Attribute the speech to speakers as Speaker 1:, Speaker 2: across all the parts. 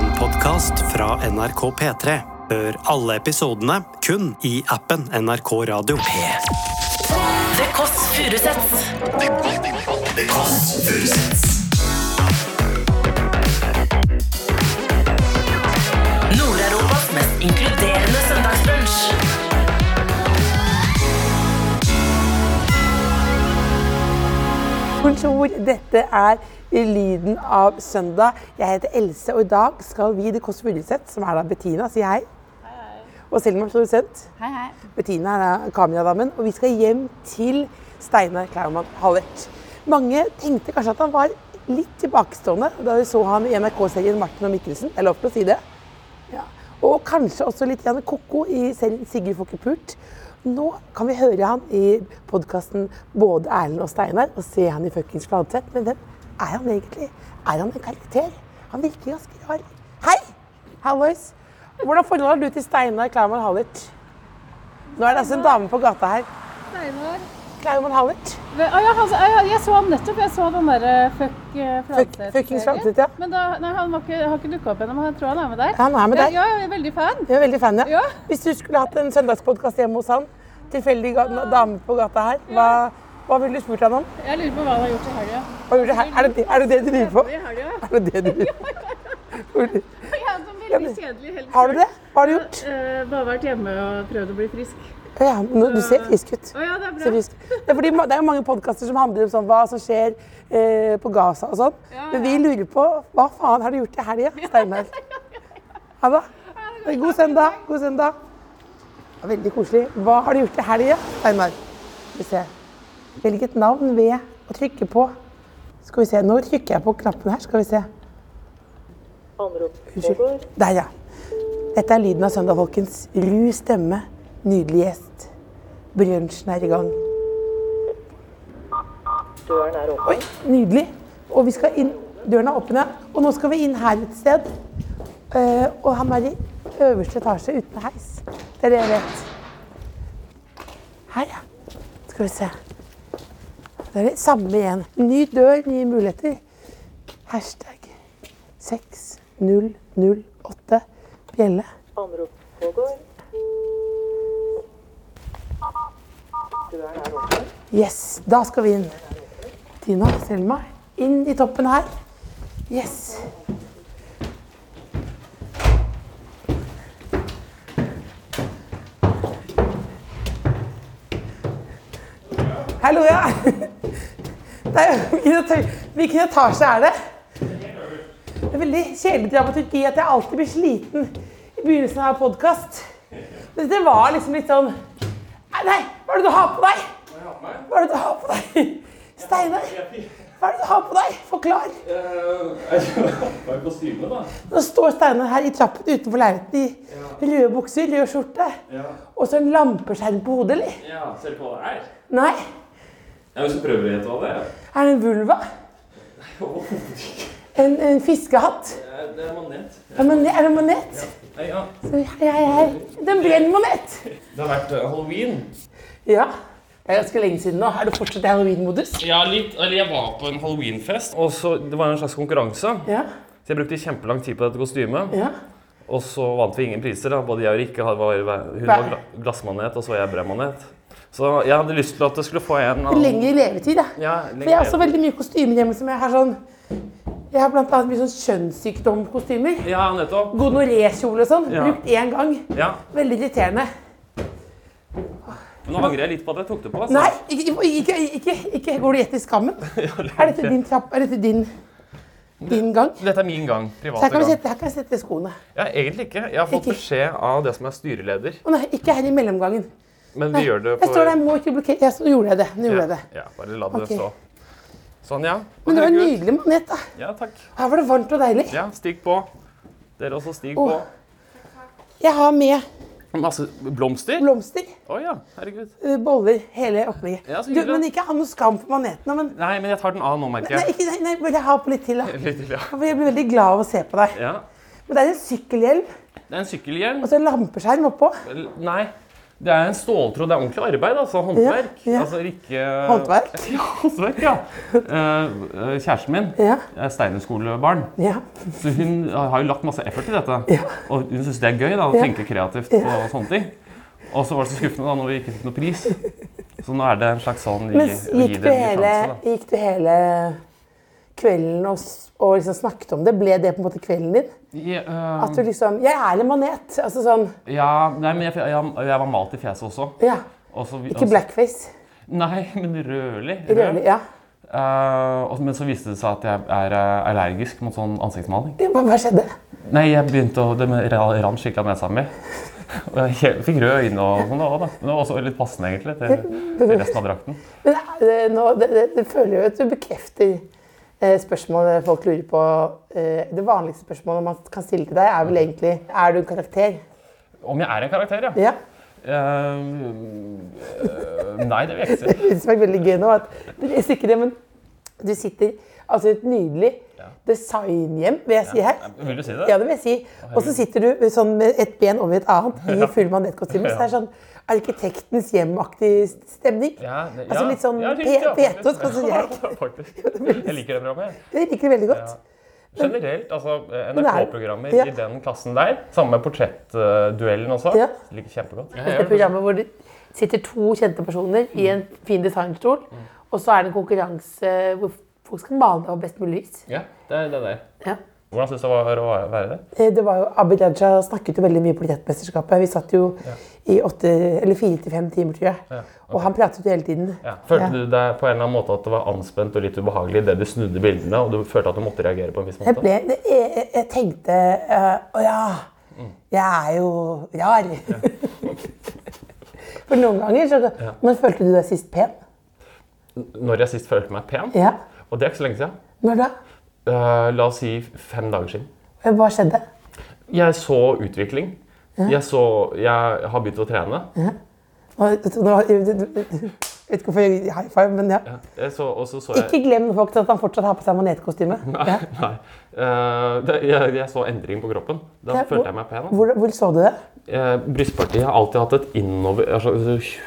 Speaker 1: podkast fra NRK P3. Hør alle episodene kun i appen NRK Radio.
Speaker 2: Det Kåss Furuseths. Nord-Europas mest inkluderende søndagsbrunsch.
Speaker 3: Bonjour, dette er lyden av søndag. Jeg heter Else, og i dag skal vi i Det Kåss Furuseth, som er da Bettina, si hei. Og Selma, produsent.
Speaker 4: Hei, hei.
Speaker 3: Bettina er da kameradamen. Og vi skal hjem til Steinar Klaumann Hallert. Mange tenkte kanskje at han var litt tilbakestående da de så han i NRK-serien 'Martin og Mikkelsen'. Det er lov til å si det. Ja. Og kanskje også litt grann koko i serien 'Sigurd får ikke pult'. Nå kan vi høre han i podkasten 'Både Erlend og Steinar' og se han i fuckings Fladseth. Men hvem er han egentlig? Er han en karakter? Han virker ganske rar. Hei! Hallois. Hvordan forholder du til Steinar Klaumann Hallert? Nå er det altså en dame på gata her.
Speaker 4: Steinar.
Speaker 3: Klaumann Hallert.
Speaker 4: Ve- Å, ja, han, sa- ja, jeg så ham nettopp. Jeg så den derre fuck eh, Fladseth.
Speaker 3: fuckings Fladseth, ja.
Speaker 4: Men da, nei, han var ikke, har ikke dukka opp ennå, men jeg tror han er med der.
Speaker 3: Han er med der.
Speaker 4: Ja, ja, jeg er veldig fan.
Speaker 3: Jeg er veldig fan, ja.
Speaker 4: Ja.
Speaker 3: Hvis du skulle hatt en søndagspodkast hjemme hos han, tilfeldig ga- dame på gata her, hva, hva ville du spurt han om?
Speaker 4: Jeg lurer på hva han har gjort i helga.
Speaker 3: Hva gjorde du her? Er det det, er det, det du driver på?
Speaker 4: I helga?
Speaker 3: Er det det du driver på? Hvor du-
Speaker 4: Jeg er sånn
Speaker 3: Ja,
Speaker 4: veldig
Speaker 3: men-
Speaker 4: kjedelig helg.
Speaker 3: Har du det? Hva har du gjort?
Speaker 4: Eh, bare vært hjemme og prøvd å bli frisk.
Speaker 3: Ja, nå, du ser frisk ut.
Speaker 4: Å ja, det er
Speaker 3: Ser
Speaker 4: bra.
Speaker 3: frisk. Det, er fordi, ma- det er jo mange podkaster som handler om sånn, hva som skjer eh, på Gaza og sånn.
Speaker 4: Ja,
Speaker 3: Men vi lurer på hva faen har du gjort i helga, Steinar? Ha det. God søndag. God søndag. Det var Veldig koselig. Hva har du gjort i helga, Steinar? Skal vi se. Velg et navn ved å trykke på. Skal vi se. Nå trykker jeg på knappen her. Skal vi se. Unnskyld. Der, ja. Dette er lyden av søndag, folkens. Ru stemme, nydelig gjest. Brunsjen er i gang. Nydelig. Og vi skal inn Døren er åpen, ja. Og nå skal vi inn her et sted. Eh, og han er i øverste etasje uten heis. Det er det jeg vet. Her, ja. Skal vi se. Det er det samme igjen. Ny dør, nye muligheter. Hashtag 6008 bjelle. Yes, da skal vi inn. Tina, Selma, inn i toppen her. Yes. Hallo, ja. Det er, jo- hvilken, eta- hvilken etasje er det? Det er veldig kjedelig dramaturgi at jeg alltid blir sliten i begynnelsen av podkast. Men dette var liksom litt sånn Nei, Nei, hva er det du har på deg? Hva er det du har på deg? Steinar, hva er det du har på deg? Forklar.
Speaker 5: Eh, Hva er kostyme, da?
Speaker 3: Nå står Steinar her i trappen utenfor leiligheten i røde bukser, rød skjorte.
Speaker 5: Ja.
Speaker 3: Og så en lampeskjerm på hodet, eller?
Speaker 5: ja, Ser på hva det er.
Speaker 3: Nei.
Speaker 5: Jeg vil prøve å gjette hva det er.
Speaker 3: Er det en vulva? En, en fiskehatt?
Speaker 5: Eh, Det er manet.
Speaker 3: En mane- Er det en manet?
Speaker 5: Nei, ja.
Speaker 3: Hei, hei, hei. Den ble en manet.
Speaker 5: Det har vært eh, halloween.
Speaker 3: Ja. Det er ganske lenge siden nå. Er du fortsatt i halloween-modus?
Speaker 5: Ja, litt. Eller jeg var på en halloweenfest, og så Det var en slags konkurranse.
Speaker 3: Ja.
Speaker 5: Så jeg brukte kjempelang tid på dette kostymet.
Speaker 3: ja.
Speaker 5: Og så vant vi ingen priser. da. Både jeg og Rikke har- var, hun var gla- glassmanet, og så var jeg brødmanet. Så jeg hadde lyst til at det skulle få en av
Speaker 3: Lengre levetid, ja.
Speaker 5: Ja,
Speaker 3: For jeg har også veldig mye kostymer hjemme som jeg har sånn Jeg har blant annet mye sånn kjønnssykdomkostymer.
Speaker 5: Ja, nettopp.
Speaker 3: Gonoré-kjole og sånn.
Speaker 5: Ja.
Speaker 3: Brukt én gang.
Speaker 5: Ja.
Speaker 3: Veldig irriterende.
Speaker 5: Men nå angrer jeg litt på at jeg tok det på. altså.
Speaker 3: Nei, ikke, ikke, ikke, ikke går du gjett i skammen? Er dette din trapp? Er dette din, din gang? Så
Speaker 5: Dette er min gang. Private
Speaker 3: her kan, vi
Speaker 5: gang.
Speaker 3: sette, her kan vi sette skoene.
Speaker 5: Ja, egentlig ikke. Jeg har fått
Speaker 3: Ikke?
Speaker 5: beskjed av det som er styreleder.
Speaker 3: Å nei, ikke her i mellomgangen.
Speaker 5: Men vi gjør det
Speaker 3: Jeg står der, må ikke blokkere. Ja, så nå gjorde jeg det. Nå gjorde jeg det.
Speaker 5: Ja, bare la det
Speaker 3: Ok.
Speaker 5: stå. Sånn, ja.
Speaker 3: Men det var en
Speaker 5: Herregud.
Speaker 3: nydelig manet, da.
Speaker 5: Ja, takk.
Speaker 3: Her var det varmt og deilig.
Speaker 5: Ja, stig på. Dere også, stig
Speaker 3: Åh. Jeg har med
Speaker 5: på. Masse altså, blomster. Å
Speaker 3: blomster,
Speaker 5: ja, herregud.
Speaker 3: eh, boller, hele opplegget.
Speaker 5: Ja, så
Speaker 3: Du,
Speaker 5: hyggelig.
Speaker 3: men ikke ha noe skam på manetene. Men
Speaker 5: Nei, men jeg tar den av nå, merker
Speaker 3: nei,
Speaker 5: jeg.
Speaker 3: ikke, nei, nei, bare jeg har på litt til, da.
Speaker 5: Litt til, ja.
Speaker 3: For jeg blir veldig glad av å se på deg.
Speaker 5: ja.
Speaker 3: Men det er en sykkelhjelm
Speaker 5: Det er en sykkelhjelm.
Speaker 3: og så en lampeskjerm oppå.
Speaker 5: Nei. Det er en ståltråd. Det er ordentlig arbeid, altså. Håndverk.
Speaker 3: Ja, ja.
Speaker 5: Altså, Rikke
Speaker 3: Håndverk?
Speaker 5: Ja, håndverk, ja. Eh, eh, kjæresten min
Speaker 3: Ja.
Speaker 5: er steinerskolebarn,
Speaker 3: Ja.
Speaker 5: så hun har jo lagt masse effort i dette.
Speaker 3: Ja.
Speaker 5: Og hun syns det er gøy da, å
Speaker 3: Ja.
Speaker 5: tenke kreativt på sånne ting. Og så var det så skuffende da når vi ikke fikk noe pris. Så nå er det en slags sånn gi-
Speaker 3: Men
Speaker 5: gi
Speaker 3: gikk
Speaker 5: det
Speaker 3: du,
Speaker 5: en ny
Speaker 3: hele,
Speaker 5: sjanse, da.
Speaker 3: gikk du hele kvelden og, s- og liksom snakket om det? Ble det på en måte kvelden din?
Speaker 5: Ja, eh,
Speaker 3: At du liksom Jeg er en manet. Altså sånn
Speaker 5: ja, nei, men jeg, jeg, jeg var malt i fjeset også.
Speaker 3: Ja.
Speaker 5: Og så-
Speaker 3: Ikke blackface.
Speaker 5: Nei, men rødlig.
Speaker 3: Rødlig. Ja.
Speaker 5: Eh, og- men så viste det seg at jeg er eh, allergisk mot sånn ansiktsmaling.
Speaker 3: Ja, Men hva skjedde?
Speaker 5: Nei, jeg begynte å, Det ra- rant skikkelig av nesa mi. Og jeg he- fikk røde øyne og sånn. også, da. Men det var også litt passende egentlig til, til resten av drakten.
Speaker 3: Men det, det, nå, det, det, det føler jo at du bekrefter eh, spørsmålet folk lurer på. Eh, det vanligste spørsmålet man kan stille til deg, er vel egentlig Er du en karakter?
Speaker 5: Om jeg er en karakter, ja.
Speaker 3: Ja.
Speaker 5: Eh, eh, nei, det vil jeg ikke si.
Speaker 3: Det som er veldig gøy nå, at du leser ikke det, men du sitter altså i et nydelig designhjem, vil jeg si her.
Speaker 5: Vil du si det?
Speaker 3: Ja, det vil jeg si. Og så sitter du sånn med et ben over et annet i full manettkostyme. Så det er sånn arkitektens hjemaktig stemning.
Speaker 5: Ja, det-
Speaker 3: Altså
Speaker 5: ja.
Speaker 3: litt sånn
Speaker 5: Ja,
Speaker 3: P-
Speaker 5: riktig, ja,
Speaker 3: Petos, kanskje
Speaker 5: Ja,
Speaker 3: jeg.
Speaker 5: faktisk. Jeg liker det programmet.
Speaker 3: Jeg liker det veldig godt.
Speaker 5: Generelt, altså eh,
Speaker 3: Men det er-
Speaker 5: NRK-programmer
Speaker 3: ja.
Speaker 5: i den klassen der, sammen med portrettduellen også,
Speaker 3: Ja.
Speaker 5: liker kjempegodt.
Speaker 3: Det programmet hvor det sitter to kjente personer i en
Speaker 5: Mm.
Speaker 3: fin designstol, og så er det en konkurranse hvor folk skal male av best mulig lys.
Speaker 5: Ja, det er det der.
Speaker 3: Ja.
Speaker 5: Hvordan syns du det var å være- være der?
Speaker 3: Eh, Det var jo, Abid Raja snakket jo veldig mye på Portrettmesterskapet. Vi satt jo i åtte, eller fire til fem timer, tror jeg. Og han pratet jo hele tiden.
Speaker 5: Ja. Følte
Speaker 3: Ja.
Speaker 5: du deg på en eller annen måte at det var anspent og litt ubehagelig idet du snudde bildene, og du følte at du måtte reagere på en viss
Speaker 3: Jeg,
Speaker 5: måte?
Speaker 3: ble, jeg, jeg- jeg tenkte eh, Å ja, jeg er jo rar. For noen ganger så Men følte du deg sist pen?
Speaker 5: Når jeg sist følte meg pen,
Speaker 3: Ja.
Speaker 5: og det er ikke så lenge siden,
Speaker 3: Når da?
Speaker 5: eh, la oss si fem dager siden,
Speaker 3: Hva skjedde?
Speaker 5: jeg så utvikling. Jeg, så, jeg har begynt å trene.
Speaker 3: Nå, nå, jeg vet ikke hvorfor jeg gir high five, men ja.
Speaker 5: Jeg Eh, så, og så så jeg
Speaker 3: Ikke glem folk at han fortsatt har på seg manetkostyme.
Speaker 5: Nei.
Speaker 3: Ja.
Speaker 5: nei. Eh, det, jeg, jeg så endring på kroppen. Da
Speaker 3: Ja, hvor-
Speaker 5: følte jeg meg pen.
Speaker 3: Hvor, hvor så du det?
Speaker 5: Eh, brystpartiet har alltid hatt et innover, altså,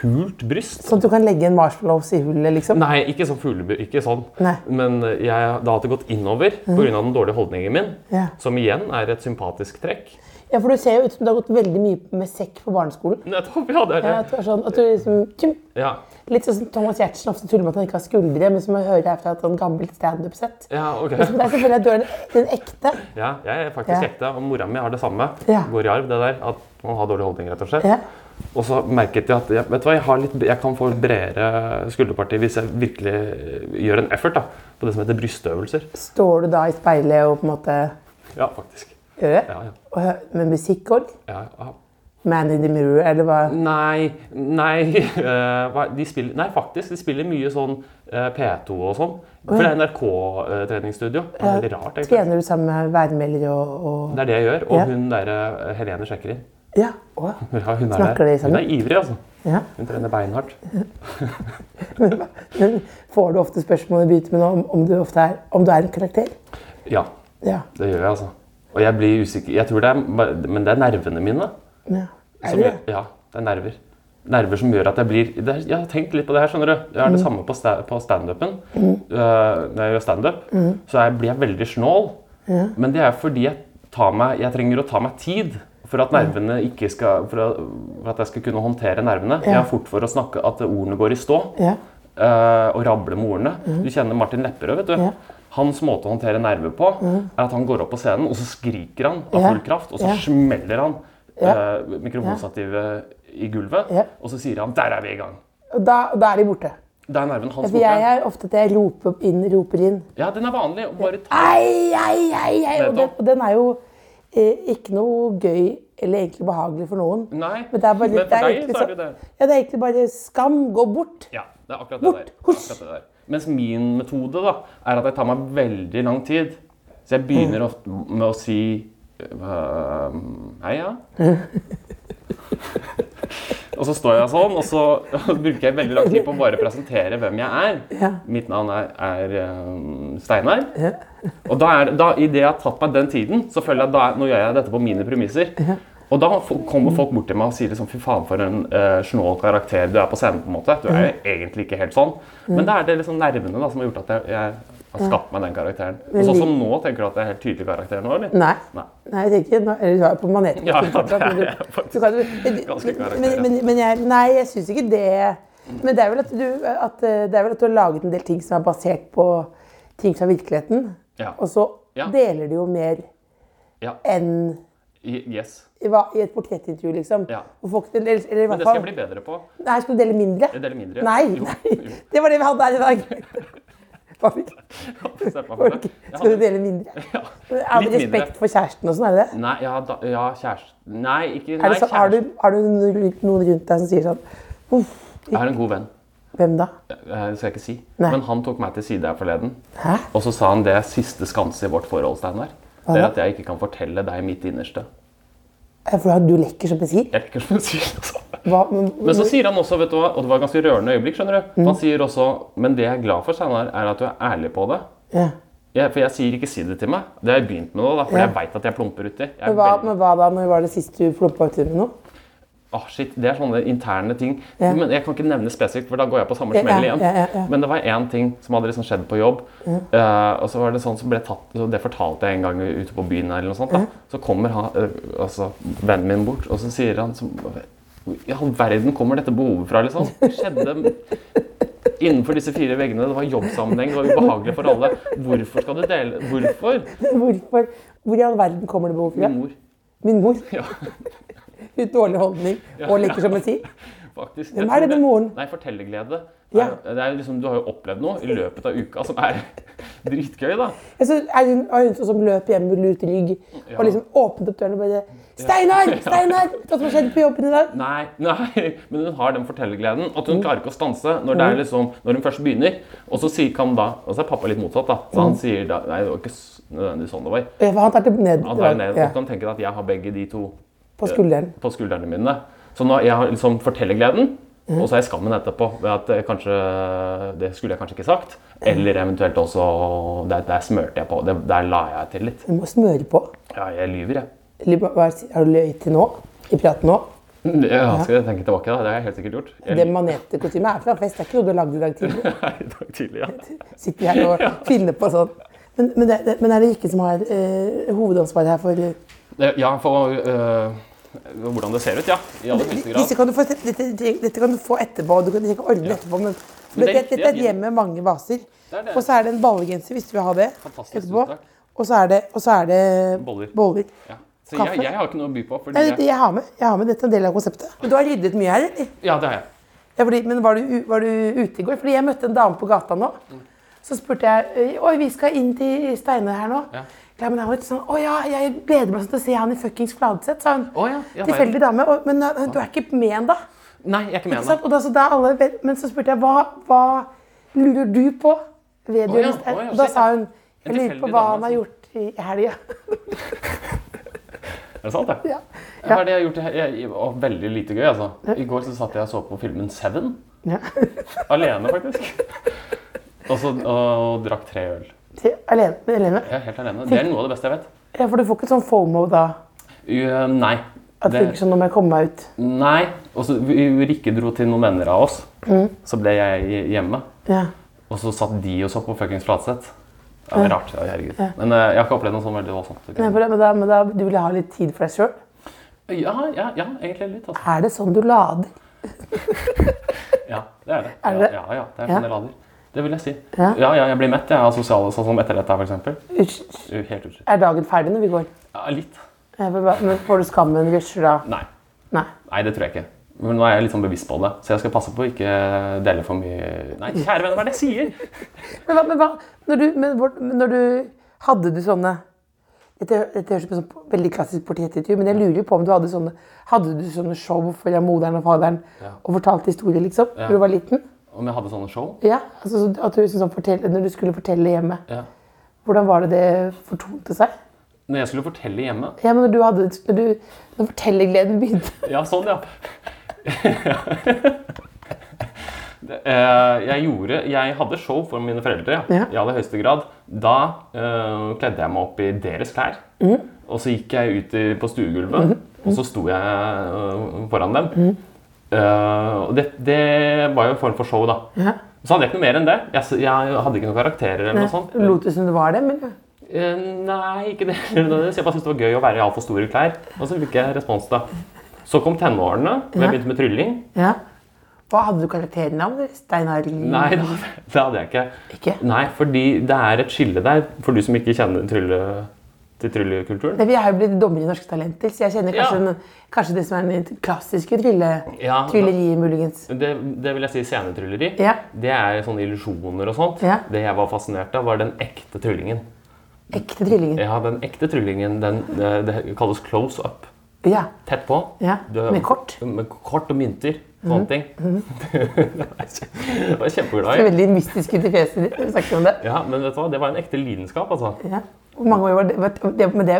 Speaker 5: hult bryst.
Speaker 3: Sånn at du kan legge en marshmallows i hullet, liksom?
Speaker 5: Nei, ikke sånn fugleby, ikke sånn.
Speaker 3: Nei. Mm.
Speaker 5: Men jeg, det har alltid gått innover på grunn av den dårlige holdningen min.
Speaker 3: Ja.
Speaker 5: Som igjen er et sympatisk trekk.
Speaker 3: Ja, for du ser jo ut som du har gått veldig mye med sekk på barneskolen.
Speaker 5: Nettopp, ja, det er
Speaker 3: Ja,
Speaker 5: det.
Speaker 3: at du er sånn, at du liksom, tjum,
Speaker 5: Ja.
Speaker 3: litt sånn som Thomas Giertsen ofte tuller med at han ikke har skuldre, men som jeg hører her fra et sånn gammelt standup-sett.
Speaker 5: ja, ok.
Speaker 3: Men det er selvfølgelig at du er den, den ekte.
Speaker 5: Ja, jeg er faktisk
Speaker 3: Ja.
Speaker 5: ekte, og mora mi har det samme.
Speaker 3: Ja.
Speaker 5: Går i arv, det der. At man har dårlig holdning, rett og slett.
Speaker 3: Ja.
Speaker 5: Og så merket jeg at jeg, vet du hva, jeg, har litt, jeg kan få bredere skulderparti hvis jeg virkelig eh, gjør en effort da, på det som heter brystøvelser.
Speaker 3: Står du da i speilet og på en måte
Speaker 5: Ja, faktisk.
Speaker 3: gjør det?
Speaker 5: Ja, ja.
Speaker 3: Og hø- med musikk òg?
Speaker 5: ja, ja.
Speaker 3: Man in the mirror, eller hva?
Speaker 5: Nei, nei, eh, hva- de spiller, nei, faktisk. De spiller mye sånn eh, P2 og sånn. For det er NRK-treningsstudio. Det er veldig rart, egentlig.
Speaker 3: Trener du sammen med værmelder og, og
Speaker 5: Det er det jeg gjør. Og
Speaker 3: Ja.
Speaker 5: hun der, eh, Helene sjekker inn.
Speaker 3: Ja. Å, ja.
Speaker 5: Ja, hun, er
Speaker 3: Snakker
Speaker 5: der.
Speaker 3: de sammen?
Speaker 5: hun er ivrig, altså.
Speaker 3: ja.
Speaker 5: Hun trener beinhardt.
Speaker 3: Men får du ofte spørsmål i begynnelsen om, om, du ofte er, om du er en karakter?
Speaker 5: Ja,
Speaker 3: Ja.
Speaker 5: det gjør jeg, altså. Og jeg blir usikker. Jeg tror det er, men det er nervene mine.
Speaker 3: ja. Er
Speaker 5: Som,
Speaker 3: du
Speaker 5: gjør-
Speaker 3: det?
Speaker 5: ja, det er nerver. Nerver som gjør at jeg blir det er, Jeg har tenkt litt på det her, skjønner du. Jeg er det
Speaker 3: Mm.
Speaker 5: samme på, sta på standupen. Eh, når jeg gjør standup,
Speaker 3: Mm.
Speaker 5: så jeg blir jeg veldig snål. Men det er fordi jeg, tar meg, jeg trenger å ta meg tid for at nervene ikke skal For at, for at jeg skal kunne håndtere nervene. Jeg er fort for å snakke at ordene går i stå.
Speaker 3: Ja.
Speaker 5: eh, og rable med ordene. Du kjenner Martin Lepperød, vet du.
Speaker 3: Mm. Ja. Mm.
Speaker 5: Hans måte å håndtere nerver på er at han går opp på scenen, og så skriker han av
Speaker 3: Ja.
Speaker 5: full kraft, og så
Speaker 3: Ja.
Speaker 5: smeller han
Speaker 3: Ja.
Speaker 5: eh, mikrofonstativet i gulvet,
Speaker 3: Ja.
Speaker 5: og så sier han 'der er vi i gang'.
Speaker 3: Og Da, da er de borte.
Speaker 5: Da er nerven hans
Speaker 3: For
Speaker 5: borte.
Speaker 3: jeg er ofte at jeg roper inn, roper inn.
Speaker 5: Ja, den er vanlig. og Bare
Speaker 3: Ah.
Speaker 5: ta
Speaker 3: Ei, ei, ei, ei. Og den,
Speaker 5: Nettopp.
Speaker 3: og den er jo eh, ikke noe gøy eller egentlig behagelig for noen.
Speaker 5: Nei,
Speaker 3: Men det er bare litt, det er
Speaker 5: for deg
Speaker 3: egentlig
Speaker 5: så er
Speaker 3: sånn-
Speaker 5: det det.
Speaker 3: Ja, det er egentlig bare skam. Gå bort.
Speaker 5: Ja, det er akkurat det
Speaker 3: Bort,
Speaker 5: der.
Speaker 3: hos.
Speaker 5: Akkurat det der. Mens min metode da, er at jeg tar meg veldig lang tid. Så jeg begynner
Speaker 3: Mm.
Speaker 5: ofte med å si øh, Hei, ja. og så står jeg sånn, og så bruker jeg veldig lang tid på å bare presentere hvem jeg er.
Speaker 3: Ja.
Speaker 5: Mitt navn er, er øh, Steinar. Og da er, det- da, i det jeg har tatt meg den tiden, så føler jeg at da er- nå gjør jeg dette på mine premisser. Og da fo- kommer folk bort til meg og sier liksom, fy faen for en eh, snål karakter du er på scenen. på en måte. Du er jo egentlig ikke helt sånn. Men det er det liksom nervene da, som har gjort at jeg, jeg har skapt meg den karakteren. Og sånn som nå, tenker du at det er helt tydelig karakter nå, eller?
Speaker 3: Nei.
Speaker 5: Nei.
Speaker 3: Nei, jeg tenker nå- Eller du er jo på maneten.
Speaker 5: Ja, ja,
Speaker 3: fortsatt, men
Speaker 5: det er jeg
Speaker 3: du-
Speaker 5: faktisk.
Speaker 3: du kan jo-
Speaker 5: Ganske klar
Speaker 3: men,
Speaker 5: karakter,
Speaker 3: men, men jeg, nei, jeg syns ikke det. Men det er, vel at du, at, eh, det er vel at du har laget en del ting som er basert på ting fra virkeligheten.
Speaker 5: Ja.
Speaker 3: Og så
Speaker 5: Ja.
Speaker 3: deler du jo mer
Speaker 5: Ja.
Speaker 3: enn
Speaker 5: I- Yes.
Speaker 3: i, hva- i et portrettintervju, liksom.
Speaker 5: Ja.
Speaker 3: Og folk, eller, eller i
Speaker 5: Men
Speaker 3: hvert
Speaker 5: det skal
Speaker 3: fall
Speaker 5: jeg bli bedre på.
Speaker 3: Nei, skal du dele mindre?
Speaker 5: Jeg deler mindre.
Speaker 3: Nei,
Speaker 5: Jo,
Speaker 3: nei!
Speaker 5: jo.
Speaker 3: Det var det vi hadde her i dag. Hva fikk
Speaker 5: Sett meg for
Speaker 3: folk?
Speaker 5: det. Jeg
Speaker 3: Skal du
Speaker 5: hadde-
Speaker 3: dele mindre?
Speaker 5: Ja.
Speaker 3: Er det
Speaker 5: Litt mindre.
Speaker 3: respekt for kjæresten og sånn, er det det?
Speaker 5: Nei, ja, da, ja kjæreste Nei, ikke
Speaker 3: Er
Speaker 5: nei,
Speaker 3: det sånn, har,
Speaker 5: kjæreste.
Speaker 3: du, har du noen rundt deg som sier sånn Uff,
Speaker 5: Jeg har en god venn.
Speaker 3: hvem da?
Speaker 5: Eh, Det skal jeg ikke si.
Speaker 3: Nei.
Speaker 5: Men han tok meg til side her forleden.
Speaker 3: Hæ?
Speaker 5: Og så sa han det er siste skanse i vårt forhold, Steinar. Det er
Speaker 3: da?
Speaker 5: at jeg ikke kan fortelle deg mitt innerste.
Speaker 3: Ja, For du lekker som bensin?
Speaker 5: Jeg liker som han sier det sånn.
Speaker 3: Hva, men,
Speaker 5: Men så sier han også, vet du hva, og det var et ganske rørende øyeblikk, skjønner du.
Speaker 3: Mhm.
Speaker 5: Han sier også, men det jeg er glad for, Steinar, er at du er ærlig på det.
Speaker 3: ja.
Speaker 5: Jeg, for jeg sier ikke si det til meg. Det har jeg begynt med nå, da, for
Speaker 3: Ja.
Speaker 5: jeg veit at jeg plumper uti. Jeg er
Speaker 3: men, hva,
Speaker 5: veldig-
Speaker 3: men hva da? Når var det sist du floppa uti med noe?
Speaker 5: Ah, shit, Det er sånne interne ting.
Speaker 3: Ja.
Speaker 5: Men Jeg kan ikke nevne spesifikt, for da går jeg på samme
Speaker 3: Ja,
Speaker 5: smell
Speaker 3: ja,
Speaker 5: igjen.
Speaker 3: ja, ja, Mm. ja.
Speaker 5: Men det var én ting som hadde liksom skjedd på jobb. eh, og så var det sånn som ble tatt, og det fortalte jeg en gang ute på byen. her eller noe sånt da.
Speaker 3: Mm.
Speaker 5: Så kommer han, eh, altså, vennen min bort, og så sier han som, I all verden kommer dette behovet fra, liksom? Det skjedde innenfor disse fire veggene. Det var jobbsammenheng, det var ubehagelig for alle. Hvorfor skal du dele Hvorfor?
Speaker 3: Hvorfor? Hvor i all verden kommer det behov for
Speaker 5: Min
Speaker 3: det?
Speaker 5: mor.
Speaker 3: Min mor?
Speaker 5: Ja.
Speaker 3: Hun dårlig holdning og lekker som bensin?
Speaker 5: Faktisk.
Speaker 3: Hvem
Speaker 5: Jeg
Speaker 3: er
Speaker 5: tror
Speaker 3: det med moren?
Speaker 5: Nei, fortellerglede.
Speaker 3: Ja.
Speaker 5: Er- Det er jo liksom, du har jo opplevd noe i løpet av uka som er dritgøy, da.
Speaker 3: Jeg synes, er hun, er hun sånn som løp hjem med lut rygg
Speaker 5: Ja.
Speaker 3: og liksom åpnet opp døren og bare 'Steinar! Steinar! Hva som har skjedd på jobben i dag?'
Speaker 5: Nei, nei, men hun har den fortellergleden. At
Speaker 3: Mm.
Speaker 5: hun klarer ikke å stanse når, det er liksom, når hun først begynner. Og så sier kan da, og så er pappa litt motsatt, da. Så
Speaker 3: Mm.
Speaker 5: han sier da Nei, det var ikke s- nødvendigvis sånn det var.
Speaker 3: Ja, for han tar det ned,
Speaker 5: Han tar jo ned,
Speaker 3: ja,
Speaker 5: Du kan tenke deg at jeg har begge de to
Speaker 3: på skulderen.
Speaker 5: på skuldrene mine. Så nå jeg har liksom fortellergleden,
Speaker 3: Mhm.
Speaker 5: og så er jeg skammen etterpå. Ved at eh, kanskje Det skulle jeg kanskje ikke sagt.
Speaker 3: Mhm.
Speaker 5: Eller eventuelt også Der, der smørte jeg på. Der, der la jeg til litt.
Speaker 3: Du må smøre på.
Speaker 5: Ja, jeg lyver, jeg.
Speaker 3: Eller hva- hva er det- Har du løyet til nå? I praten nå?
Speaker 5: Ja, skal jeg tenke tilbake, da. Det har jeg helt sikkert gjort. Jeg,
Speaker 3: Det manetekostymet er fra fest, det er ikke noe du har lagd i dag tidlig.
Speaker 5: Nei, i dag tidlig, ja.
Speaker 3: Sitter vi her og finner på sånn. Men, men, det, det, men er det Rikke som har eh, hovedansvaret her for
Speaker 5: Det, ja, for øh, hvordan det ser ut, ja. I aller høyeste grad.
Speaker 3: disse kan du få, dette, dette- dette kan du få etterpå, og du kan du kan ordne etterpå. Men,
Speaker 5: Men det er
Speaker 3: dette, dette er et
Speaker 5: riktig, ja.
Speaker 3: hjem med mange vaser.
Speaker 5: Det er det.
Speaker 3: Og så er det en ballegenser, hvis du vil ha det.
Speaker 5: Fantastisk,
Speaker 3: etterpå.
Speaker 5: tusen takk.
Speaker 3: Og så er det, og så er det
Speaker 5: Boller.
Speaker 3: boller.
Speaker 5: Ja. Så jeg,
Speaker 3: Kaffe?
Speaker 5: jeg har ikke noe å by på. Fordi
Speaker 3: Nei, det,
Speaker 5: jeg,
Speaker 3: jeg, har med, jeg har med dette er en del av konseptet. Men du har ryddet mye her, eller?
Speaker 5: ja, det har jeg.
Speaker 3: Ja, fordi, men var du, u- var du ute i går? Fordi jeg møtte en dame på gata nå.
Speaker 5: Mm.
Speaker 3: Så spurte jeg Oi, vi skal inn til Steinar her nå.
Speaker 5: Ja.
Speaker 3: Ja, men han var litt sånn, Å ja, jeg gleder meg sånn til å se han i fuckings Fladseth, sa hun.
Speaker 5: Å ja, ja,
Speaker 3: Tilfeldig dame. «Å, Men eh, du er ikke med ennå.
Speaker 5: Nei, jeg er ikke med
Speaker 3: Ikke sant?
Speaker 5: ennå.
Speaker 3: Og da, så da alle, vet- men så spurte jeg hva, hva lurer du på ved
Speaker 5: Å ja,
Speaker 3: Jonas Stein?»
Speaker 5: å ja,
Speaker 3: Og Da
Speaker 5: shit,
Speaker 3: sa hun
Speaker 5: En
Speaker 3: jeg lurer på
Speaker 5: tilfeldig
Speaker 3: hva
Speaker 5: dame,
Speaker 3: han har
Speaker 5: altså.
Speaker 3: gjort i helga.
Speaker 5: Er det sant, det?
Speaker 3: Ja.
Speaker 5: Hva er det jeg har gjort? i- Jeg, jeg, å, veldig lite gøy, altså. I går så satt jeg og så på filmen Seven.
Speaker 3: Ja.
Speaker 5: Alene, faktisk. Og så og, og drakk tre øl.
Speaker 3: Til- Alene, alene.
Speaker 5: Jeg er helt alene. Det er noe av det beste jeg vet.
Speaker 3: Ja, for du får ikke sånn fomo da?
Speaker 5: Jo, nei.
Speaker 3: At det
Speaker 5: Det- sånn-
Speaker 3: virker sånn nå må jeg komme meg ut.
Speaker 5: Nei. Og så vi- Rikke dro til noen venner av oss. Så ble jeg hjemme.
Speaker 3: Ja.
Speaker 5: Og så satt de og så på fuckings Flatseth. Ja, det er rart. Ja, herregud. Men eh, jeg har ikke opplevd noe sånn veldig voldsomt.
Speaker 3: Men, for det- men, da, men da, du ville ha litt tid for deg sjøl?
Speaker 5: Ja, ja, ja, egentlig litt. Altså.
Speaker 3: Er det sånn du lader?
Speaker 5: Ja, det er det.
Speaker 3: Er det?
Speaker 5: Ja, ja, ja, det er
Speaker 3: Ja.
Speaker 5: sånn det lader. Det vil jeg si.
Speaker 3: Ja.
Speaker 5: Ja, ja, jeg blir mett. Jeg har sosiale sånn som etterrett her, f.eks.
Speaker 3: Uts-
Speaker 5: Helt utslett.
Speaker 3: Er dagen ferdig når vi går?
Speaker 5: Ja, litt.
Speaker 3: Jeg vil bare- Men får du skammen rusher da?
Speaker 5: Nei.
Speaker 3: Nei.
Speaker 5: Nei, det tror jeg ikke. Men nå er jeg litt sånn bevisst på det, så jeg skal passe på å ikke dele for mye Nei, kjære venner, hva er det jeg sier?
Speaker 3: Men hva, men hva når, du, men, hvor- når du Hadde du sånne Dette, dette høres ut som sånn veldig klassisk portrettintervju, men jeg lurer jo på om du hadde sånne Hadde du sånne show foran moderen og faderen og fortalte historier, liksom? Da du var liten?
Speaker 5: Om jeg hadde sånne show?
Speaker 3: Ja, altså så- At du liksom sånn fortell, Når du skulle fortelle hjemme,
Speaker 5: Ja.
Speaker 3: hvordan var det det fortonte seg?
Speaker 5: Når jeg skulle fortelle hjemme?
Speaker 3: Ja, men når du hadde Når, du, når fortellergleden begynte
Speaker 5: Ja, sånn, ja. Det, eh, jeg gjorde Jeg hadde show for mine foreldre, ja.
Speaker 3: Ja.
Speaker 5: I aller høyeste grad. Da eh, kledde jeg meg opp i deres klær. Og så gikk jeg ut i, på stuegulvet. Og så sto jeg øh, foran dem. Eh, og det, det var jo en form for show, da. Så hadde jeg ikke noe mer enn det. Jeg, s- jeg hadde ikke noen karakterer eller noe sånt.
Speaker 3: Lot du som det var det, men
Speaker 5: Eh, nei, ikke det. nødvendigvis. Jeg bare syntes det var gøy å være i altfor store klær. Og så fikk jeg respons, da. Så kom tenårene, hvor jeg begynte med trylling.
Speaker 3: ja. Hva hadde du karakternavn? Steinar Lien?
Speaker 5: Nei, det hadde, det hadde jeg ikke.
Speaker 3: Ikke?
Speaker 5: Nei, fordi det er et skille der, for du som ikke kjenner trylle, til tryllekulturen.
Speaker 3: Nei, for Jeg har jo blitt dommer i Norske Talenter, så jeg kjenner kanskje,
Speaker 5: Ja.
Speaker 3: den, kanskje det som er den klassiske trylle,
Speaker 5: Ja.
Speaker 3: trylleriet, muligens.
Speaker 5: Det, det vil jeg si scenetrylleri.
Speaker 3: Ja.
Speaker 5: Det er sånne illusjoner og sånt.
Speaker 3: Ja.
Speaker 5: Det jeg var fascinert av, var den ekte tryllingen.
Speaker 3: Ekte tryllingen.
Speaker 5: Ja, den ekte tryllingen, den, eh, det kalles close up.
Speaker 3: Ja.
Speaker 5: Tett på.
Speaker 3: Ja,
Speaker 5: Du-
Speaker 3: med kort. Mhm,
Speaker 5: Med kort og mynter. Sånne ting. det var jeg
Speaker 3: Det
Speaker 5: kjempeglad
Speaker 3: er
Speaker 5: i.
Speaker 3: veldig mystisk ut i fjeset ditt når du snakker om det.
Speaker 5: Ja, men vet du hva? Det var en ekte lidenskap, altså.
Speaker 3: Ja. Hvor mange år var det? var- det, men det,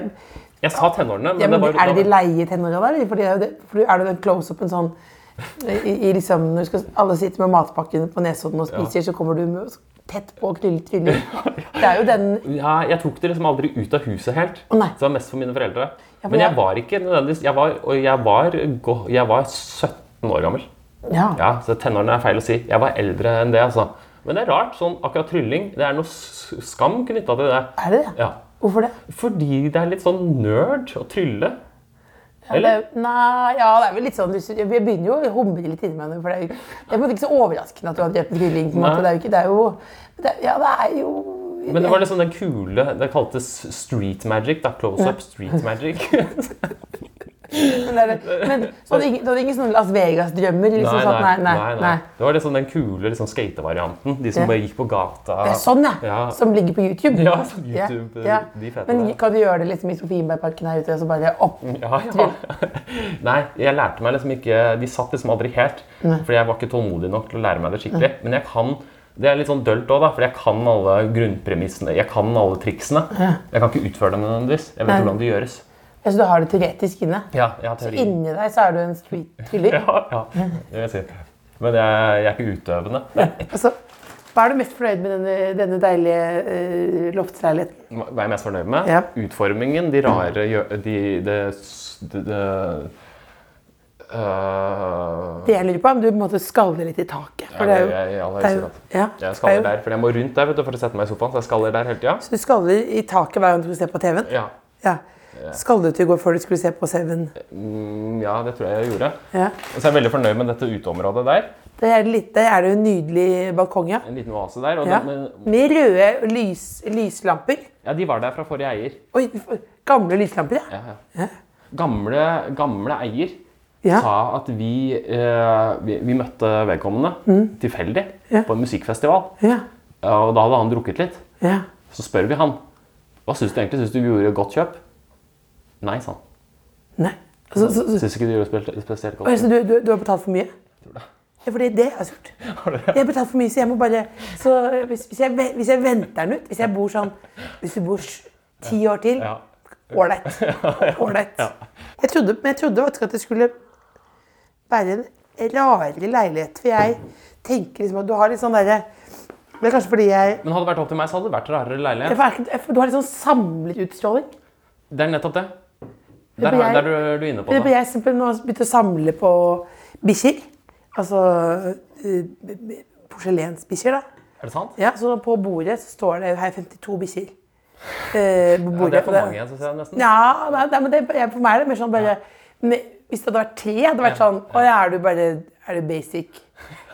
Speaker 5: Jeg sa tenårene, men
Speaker 3: ja, men
Speaker 5: det var
Speaker 3: er det de leie tenåra der? eller? For, det er jo det, for er det den close-upen sånn i, i liksom, Når du skal, alle sitter med matpakken på Nesodden og spiser, så kommer du med, så tett på og knyller tvilling. Det er jo den
Speaker 5: Ja, jeg tok det liksom aldri ut av huset helt.
Speaker 3: Å, nei.
Speaker 5: Så det var mest for mine foreldre.
Speaker 3: for
Speaker 5: Men jeg
Speaker 3: jeg-
Speaker 5: var ikke nødvendigvis Jeg var, og jeg var, gå- jeg var 17 år gammel.
Speaker 3: Ja.
Speaker 5: Ja, Så tenårene er feil å si. Jeg var eldre enn det, altså. Men det er rart. sånn Akkurat trylling, det er noe s- skam knytta til det.
Speaker 3: Er det det?
Speaker 5: Ja.
Speaker 3: Hvorfor det?
Speaker 5: Fordi det er litt sånn nerd å trylle.
Speaker 3: det
Speaker 5: Eller?
Speaker 3: er- nei, ja, det er vel litt sånn, du sy- Jeg begynner jo å humre litt inni meg nå. for Det er jo det er på en måte ikke så overraskende at du har drept en kylling. på en måte. Det
Speaker 5: Nei.
Speaker 3: er jo ikke, det er jo, det er, ja, det er jo
Speaker 5: Men det var liksom den kule Det kaltes street magic. da, Close up street magic.
Speaker 3: men det er- men, så hadde ingen, du hadde ingen sånne Las Vegas-drømmer? Liksom, sånn, nei, nei, nei.
Speaker 5: Det var liksom den kule liksom, skatevarianten. De som
Speaker 3: Ja.
Speaker 5: bare gikk på gata.
Speaker 3: Det er sånn, ja.
Speaker 5: Ja.
Speaker 3: Som ligger på YouTube.
Speaker 5: Ja, sånn YouTube,
Speaker 3: Ja,
Speaker 5: de fete
Speaker 3: Men
Speaker 5: der.
Speaker 3: kan du gjøre det liksom i Sofienbergparken her ute? og Så bare opp.
Speaker 5: Ja, ja. Nei, jeg lærte meg liksom ikke De satt liksom aldri helt. Fordi jeg var ikke tålmodig nok til å lære meg det skikkelig. Men jeg kan Det er litt sånn dølt òg, da. Fordi jeg kan alle grunnpremissene. Jeg kan alle triksene. Jeg kan ikke utføre dem nødvendigvis. Jeg vet
Speaker 3: Nei.
Speaker 5: hvordan det gjøres.
Speaker 3: Ja, så du har det teoretisk inne.
Speaker 5: Ja, jeg har teori.
Speaker 3: Inni deg så er du en street-thriller.
Speaker 5: Ja, ja, det vil jeg si. Men jeg, jeg er ikke utøvende.
Speaker 3: Altså, hva er du mest fornøyd med denne, denne deilige eh, loftsleiligheten?
Speaker 5: Hva er jeg mest fornøyd med?
Speaker 3: Ja.
Speaker 5: Utformingen, de rare gjø- de, det s- det- det- øh,
Speaker 3: Det jeg lurer på, er om du på en måte skaller litt i taket. For
Speaker 5: Ja,
Speaker 3: det er jo,
Speaker 5: jeg- jeg- jeg har
Speaker 3: det er jo,
Speaker 5: lyst til
Speaker 3: ja, det er
Speaker 5: Jeg skaller
Speaker 3: jo-
Speaker 5: der, for jeg må rundt der vet du, for å sette meg i sofaen. Så jeg skaller der hele tida.
Speaker 3: Så du skaller i taket hver gang du skal se på TV-en?
Speaker 5: Ja.
Speaker 3: Ja. Skallet du i går før du skulle se på Seven?
Speaker 5: Mm, ja, det tror jeg jeg gjorde.
Speaker 3: Ja.
Speaker 5: Og så er jeg veldig fornøyd med dette uteområdet der.
Speaker 3: Det er, litt, det er jo en nydelig balkong, ja.
Speaker 5: En liten oase der. Og
Speaker 3: ja.
Speaker 5: den-
Speaker 3: Med røde lys, lyslamper.
Speaker 5: ja, de var der fra forrige eier.
Speaker 3: Oi, gamle lyslamper, ja.
Speaker 5: Ja, ja. Gamle, gamle eier
Speaker 3: ja.
Speaker 5: sa at vi, eh, vi, vi møtte vedkommende tilfeldig
Speaker 3: Mm. Ja.
Speaker 5: på en musikkfestival.
Speaker 3: Ja.
Speaker 5: Ja, Og da hadde han drukket litt.
Speaker 3: ja.
Speaker 5: Så spør vi han. Hva syns du egentlig? Syns du vi gjorde et godt kjøp? Nei, sa han.
Speaker 3: Nei. Så, så, så,
Speaker 5: Syns ikke du gjorde spesielt, spesielt
Speaker 3: Oi,
Speaker 5: godt.
Speaker 3: så du, du, du har betalt for mye? Ja, for det er det jeg har gjort. Jeg har betalt for mye, så jeg må bare så hvis, hvis, jeg, ve- hvis jeg venter den ut Hvis jeg bor sånn Hvis du bor s- ti år til
Speaker 5: Ja.
Speaker 3: Ålreit. Ålreit. Jeg trodde, men jeg trodde faktisk at det skulle være en rarere leilighet. For jeg tenker liksom at du har litt sånn derre Det er kanskje fordi jeg
Speaker 5: Men hadde det vært opp til meg, så hadde det vært rarere leilighet.
Speaker 3: jeg får- jeg får- Du har litt sånn samlerutstråling.
Speaker 5: Det er nettopp det.
Speaker 3: blir
Speaker 5: Der, har-
Speaker 3: jeg-
Speaker 5: der er du, du er inne på
Speaker 3: Det
Speaker 5: det.
Speaker 3: ble jeg simpelthen nå begynt å samle på bikkjer. Altså eh, b- b- porselensbikkjer, da.
Speaker 5: Er det sant?
Speaker 3: Ja, så på bordet så står det jo her 52 bikkjer. Eh, på
Speaker 5: Ja,
Speaker 3: bordet.
Speaker 5: det er for mange, altså. syns jeg nesten.
Speaker 3: Ja, nei, nei, men det, jeg- for meg er det mer sånn bare men Hvis det hadde vært tre, hadde det vært sånn Å ja, er du bare er du basic?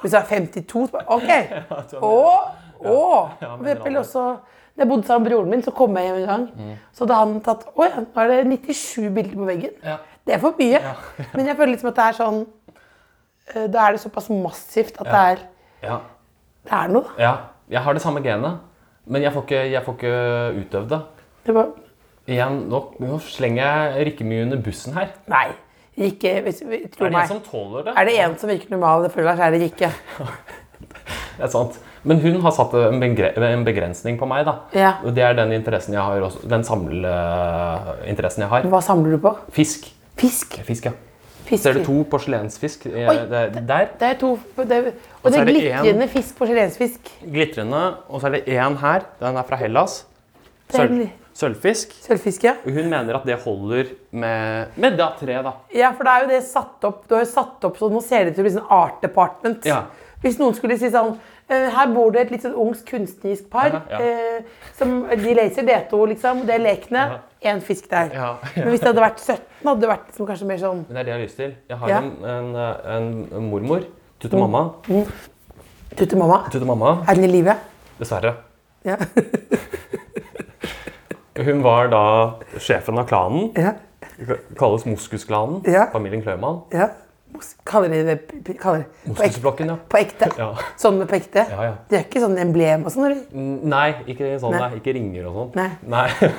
Speaker 3: Hvis du er 52, så bare OK. Å, å.
Speaker 5: Ja,
Speaker 3: For
Speaker 5: men
Speaker 3: eksempel
Speaker 5: rart.
Speaker 3: også da jeg bodde sammen med broren min, så kom jeg hjem en
Speaker 5: Mm.
Speaker 3: gang. Så hadde han tatt Å ja, nå er det 97 bilder på veggen.
Speaker 5: Ja.
Speaker 3: Det er for mye. Men jeg føler liksom at det er sånn eh, Da er det såpass massivt at det er,
Speaker 5: Ja.
Speaker 3: det er noe, da.
Speaker 5: ja. Jeg har det samme genet, men jeg får ikke, jeg får ikke utøvd det.
Speaker 3: Det var,
Speaker 5: Igjen, nå, nå slenger jeg Rikke mye under bussen her.
Speaker 3: nei. Rikke, hvis, tro
Speaker 5: Er det en
Speaker 3: meg.
Speaker 5: som tåler det?
Speaker 3: Er det en som virker normal, det føler jeg, så er det Rikke.
Speaker 5: Det er sant. Men hun har satt en, begre en begrensning på meg, da.
Speaker 3: Ja.
Speaker 5: Og det er den interessen jeg har også. Den samleinteressen jeg har.
Speaker 3: Hva samler du på?
Speaker 5: Fisk.
Speaker 3: Fisk.
Speaker 5: Fisk, ja.
Speaker 3: Fisk.
Speaker 5: Ser du to porselensfisk eh,
Speaker 3: Oi,
Speaker 5: det- der?
Speaker 3: Det er to det er, Og
Speaker 5: så
Speaker 3: det
Speaker 5: er
Speaker 3: er
Speaker 5: det
Speaker 3: glitrende fisk, porselensfisk.
Speaker 5: Glitrende. Og så er det én her. Den er fra Hellas.
Speaker 3: Det er
Speaker 5: Sølv.
Speaker 3: gli-
Speaker 5: sølvfisk.
Speaker 3: Sølvfiske.
Speaker 5: Hun mener at det holder med, med da tre, da.
Speaker 3: Ja, for det er jo det satt opp. Du har jo satt opp sånn, nå ser det ut som liksom art department.
Speaker 5: Ja.
Speaker 3: Hvis noen skulle si sånn eh, Her bor det et litt sånn ungt kunstnerisk par.
Speaker 5: Aha, ja.
Speaker 3: eh, som De leser det to, liksom. Det er lekene. Én fisk der.
Speaker 5: Ja.
Speaker 3: Men hvis det hadde vært 17, hadde det vært liksom, kanskje mer sånn
Speaker 5: Men det er det jeg har lyst til. Jeg har
Speaker 3: Ja. Mm.
Speaker 5: en, en, eh, en mormor. Tutte mamma.
Speaker 3: Tutte mamma.
Speaker 5: Tutte mamma,
Speaker 3: Er den i live?
Speaker 5: dessverre.
Speaker 3: Ja.
Speaker 5: Hun var da sjefen av klanen.
Speaker 3: ja.
Speaker 5: Kalles Moskusklanen.
Speaker 3: Ja.
Speaker 5: Familien Kløyman.
Speaker 3: ja. Mos- Kaller de det p- kaller, på, ekte,
Speaker 5: Moskusflokken, ja.
Speaker 3: på ekte?
Speaker 5: Ja.
Speaker 3: Sånn på ekte?
Speaker 5: Ja, ja.
Speaker 3: Det er ikke sånn emblem og sånn? eller?
Speaker 5: N- Nei, ikke sånn,
Speaker 3: Nei.
Speaker 5: nei. Ikke ringer og sånn.
Speaker 3: Nei.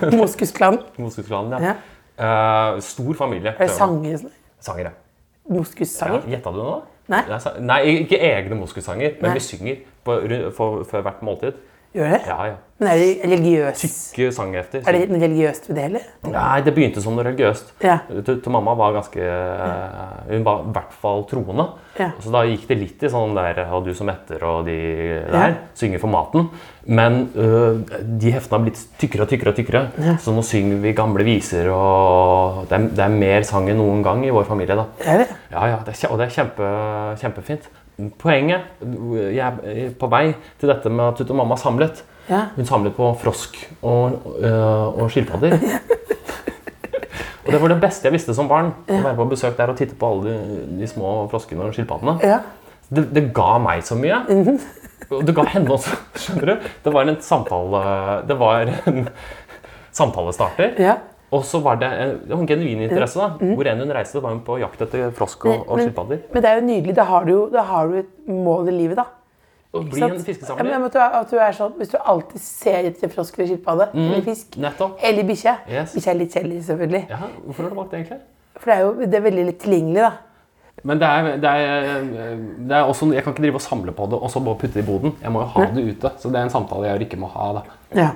Speaker 5: Nei.
Speaker 3: Moskusklanen?
Speaker 5: Moskusklanen,
Speaker 3: Ja.
Speaker 5: ja. Eh, stor familie.
Speaker 3: Er det
Speaker 5: Kløyman.
Speaker 3: sanger? og sånn?
Speaker 5: Sangere. Ja,
Speaker 3: Moskussanger?
Speaker 5: Gjetta du nå?
Speaker 3: Nei.
Speaker 5: Det er sa- Nei, ikke egne moskussanger, men
Speaker 3: Nei.
Speaker 5: vi synger på, ru- for, før hvert måltid.
Speaker 3: Gjør det?
Speaker 5: Ja, ja.
Speaker 3: Men er det religiøst?
Speaker 5: Ikke sanghefter.
Speaker 3: Er det noe religiøst ved det, eller?
Speaker 5: Nei, det begynte som noe religiøst.
Speaker 3: Ja.
Speaker 5: Til, til mamma var ganske eh, Hun var i hvert fall troende.
Speaker 3: Ja.
Speaker 5: Så da gikk det litt i sånn der Og du som etter og de
Speaker 3: Ja.
Speaker 5: der synger for maten. Men eh, de heftene har blitt tykkere og tykkere, og tykkere. så nå synger vi gamle viser. og det er, det er mer sang enn noen gang i vår familie. da.
Speaker 3: Er det?
Speaker 5: Ja, ja, det er, kje- og det er kjempe, kjempefint. Poenget Jeg er på vei til dette med at Tutte og mamma samlet.
Speaker 3: Ja.
Speaker 5: Hun samlet på frosk og, øh, og skilpadder. Og det var det beste jeg visste som barn. Å være på besøk der og titte på alle de, de små froskene og skilpaddene.
Speaker 3: Ja.
Speaker 5: Det, det ga meg så mye. Og det ga henne også, skjønner du. Det var en samtale Det var en samtalestarter.
Speaker 3: ja.
Speaker 5: Og så var det en, det var en genuin
Speaker 3: Mm.
Speaker 5: interesse. da. Hvor enn hun reiste, var hun på jakt etter frosk og, og skilpadder.
Speaker 3: Men det er jo nydelig. Da har du jo da har du et mål i livet, da.
Speaker 5: Å bli
Speaker 3: Ikke
Speaker 5: en
Speaker 3: sant? Ja,
Speaker 5: fiskesamler.
Speaker 3: men at du, er, at du er sånn, Hvis du alltid ser etter frosk eller skilpadde eller fisk
Speaker 5: Nettopp.
Speaker 3: eller bikkje
Speaker 5: Mm. Yes.
Speaker 3: Bikkje er litt kjedelig, selvfølgelig.
Speaker 5: Ja, hvorfor har du valgt det, egentlig?
Speaker 3: For det er jo det er veldig litt tilgjengelig, da.
Speaker 5: Men det er, det er, det er også, jeg kan ikke drive og samle på det og så bare putte det i boden. Jeg må jo ha det ute. Så det er en samtale jeg ikke må ha da,
Speaker 3: Ja.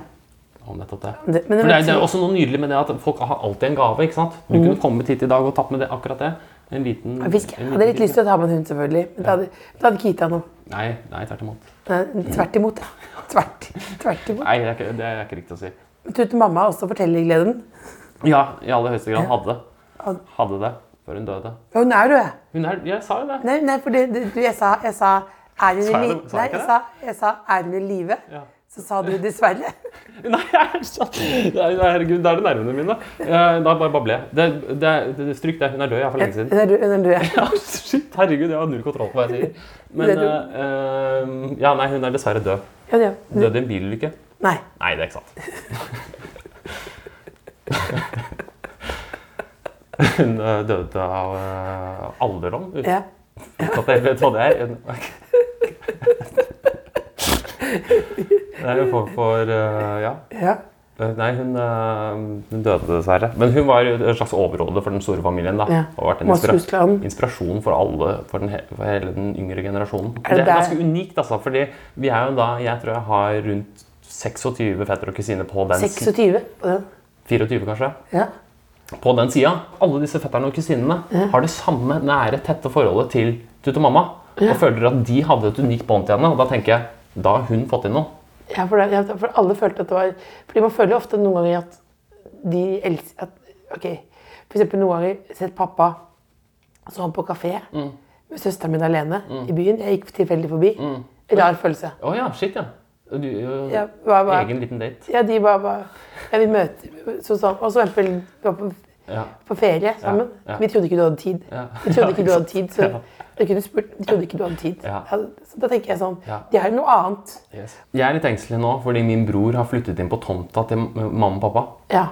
Speaker 5: om nettopp det.
Speaker 3: Det- men det
Speaker 5: For
Speaker 3: var
Speaker 5: det er, det er
Speaker 3: ti-
Speaker 5: også noe nydelig med det at folk har alltid en gave. ikke sant? Du kunne kommet hit i dag og tatt med det, akkurat det. En liten
Speaker 3: Mm. Fisk. Jeg hadde litt lyst til å ta med en hund, selvfølgelig. Men da hadde, da hadde Kita noe.
Speaker 5: Nei, nei tvert imot.
Speaker 3: Nei, Tvert imot, ja. Tvert, tvert imot.
Speaker 5: Nei, det er, ikke, det er ikke riktig å si.
Speaker 3: Tute mamma også fortellergleden.
Speaker 5: Ja, i aller høyeste grad hadde.
Speaker 3: Hadde-
Speaker 5: Hadde det før hun døde.
Speaker 3: Ja, Hun er rød.
Speaker 5: Hun er, jeg sa jo det.
Speaker 3: Nei, nei for det, det, du, jeg sa, jeg sa er hun i
Speaker 5: Sa jeg
Speaker 3: live?
Speaker 5: det? Sa
Speaker 3: Nei,
Speaker 5: jeg ikke
Speaker 3: jeg sa, jeg sa er hun i live?
Speaker 5: Ja.
Speaker 3: Så sa du dessverre.
Speaker 5: Nei, jeg er så- Nei, herregud, det er det nervene mine. Eh, Da bare babler jeg. Det, det, det, stryk det, hun er død, jeg er for lenge
Speaker 3: Hun
Speaker 5: siden.
Speaker 3: er rød. Hun er rød.
Speaker 5: Ja, shit, herregud, jeg har null kontroll på hva jeg sier. Men
Speaker 3: Det er
Speaker 5: eh, eh, Ja, nei, hun er dessverre død.
Speaker 3: Ja, ja.
Speaker 5: Døde i en bilulykke.
Speaker 3: Nei.
Speaker 5: Nei, det er ikke sant. Hun eh, døde av eh, alderdom, uten
Speaker 3: Ja.
Speaker 5: at jeg vet hva det er. Nei, for, for eh, ja.
Speaker 3: ja.
Speaker 5: Eh, Nei, hun, eh, hun døde dessverre. Men hun var jo en slags overhode for den store familien. da.
Speaker 3: Ja.
Speaker 5: Og vært en
Speaker 3: Masse
Speaker 5: inspira
Speaker 3: husklanen.
Speaker 5: inspirasjon for alle, for, den he for hele den yngre generasjonen.
Speaker 3: Er
Speaker 5: det,
Speaker 3: det
Speaker 5: er
Speaker 3: der-
Speaker 5: ganske unikt, altså. fordi vi er jo da, jeg tror jeg har rundt 26 fettere og kusiner på den si-
Speaker 3: 26 på den.
Speaker 5: 24 kanskje,
Speaker 3: Ja.
Speaker 5: på den sida. Alle disse fetterne og kusinene har det samme nære, tette forholdet til Tutte mamma. Og føler at de hadde et unikt bånd til henne. Og da tenker jeg da har hun fått inn noe.
Speaker 3: Ja, for, det, ja, for alle følte at det var Fordi man føler jo ofte noen ganger at de elsker at, OK. For eksempel noen ganger sett pappa så han på kafé
Speaker 5: Mm.
Speaker 3: med søsteren min alene i byen. Jeg gikk tilfeldig forbi.
Speaker 5: Mm.
Speaker 3: Rar følelse.
Speaker 5: Å ja, shit, ja. Du, eh,
Speaker 3: Ja, hva, hva?
Speaker 5: Egen liten date.
Speaker 3: Ja, de var bare Jeg vil møte så sa han- Og så for eksempel vi var på,
Speaker 5: Ja.
Speaker 3: på ferie sammen.
Speaker 5: Ja, ja.
Speaker 3: Vi trodde ikke du hadde tid.
Speaker 5: Ja.
Speaker 3: Vi trodde ikke du hadde
Speaker 5: Ja,
Speaker 3: tid,
Speaker 5: ikke
Speaker 3: så
Speaker 5: sant.
Speaker 3: jeg kunne spurt Vi trodde ikke du hadde tid.
Speaker 5: Ja.
Speaker 3: så da tenker jeg sånn
Speaker 5: Ja.
Speaker 3: De har jo noe annet.
Speaker 5: Jeg er litt engstelig nå fordi min bror har flyttet inn på tomta til m- mamma og pappa.
Speaker 3: Ja,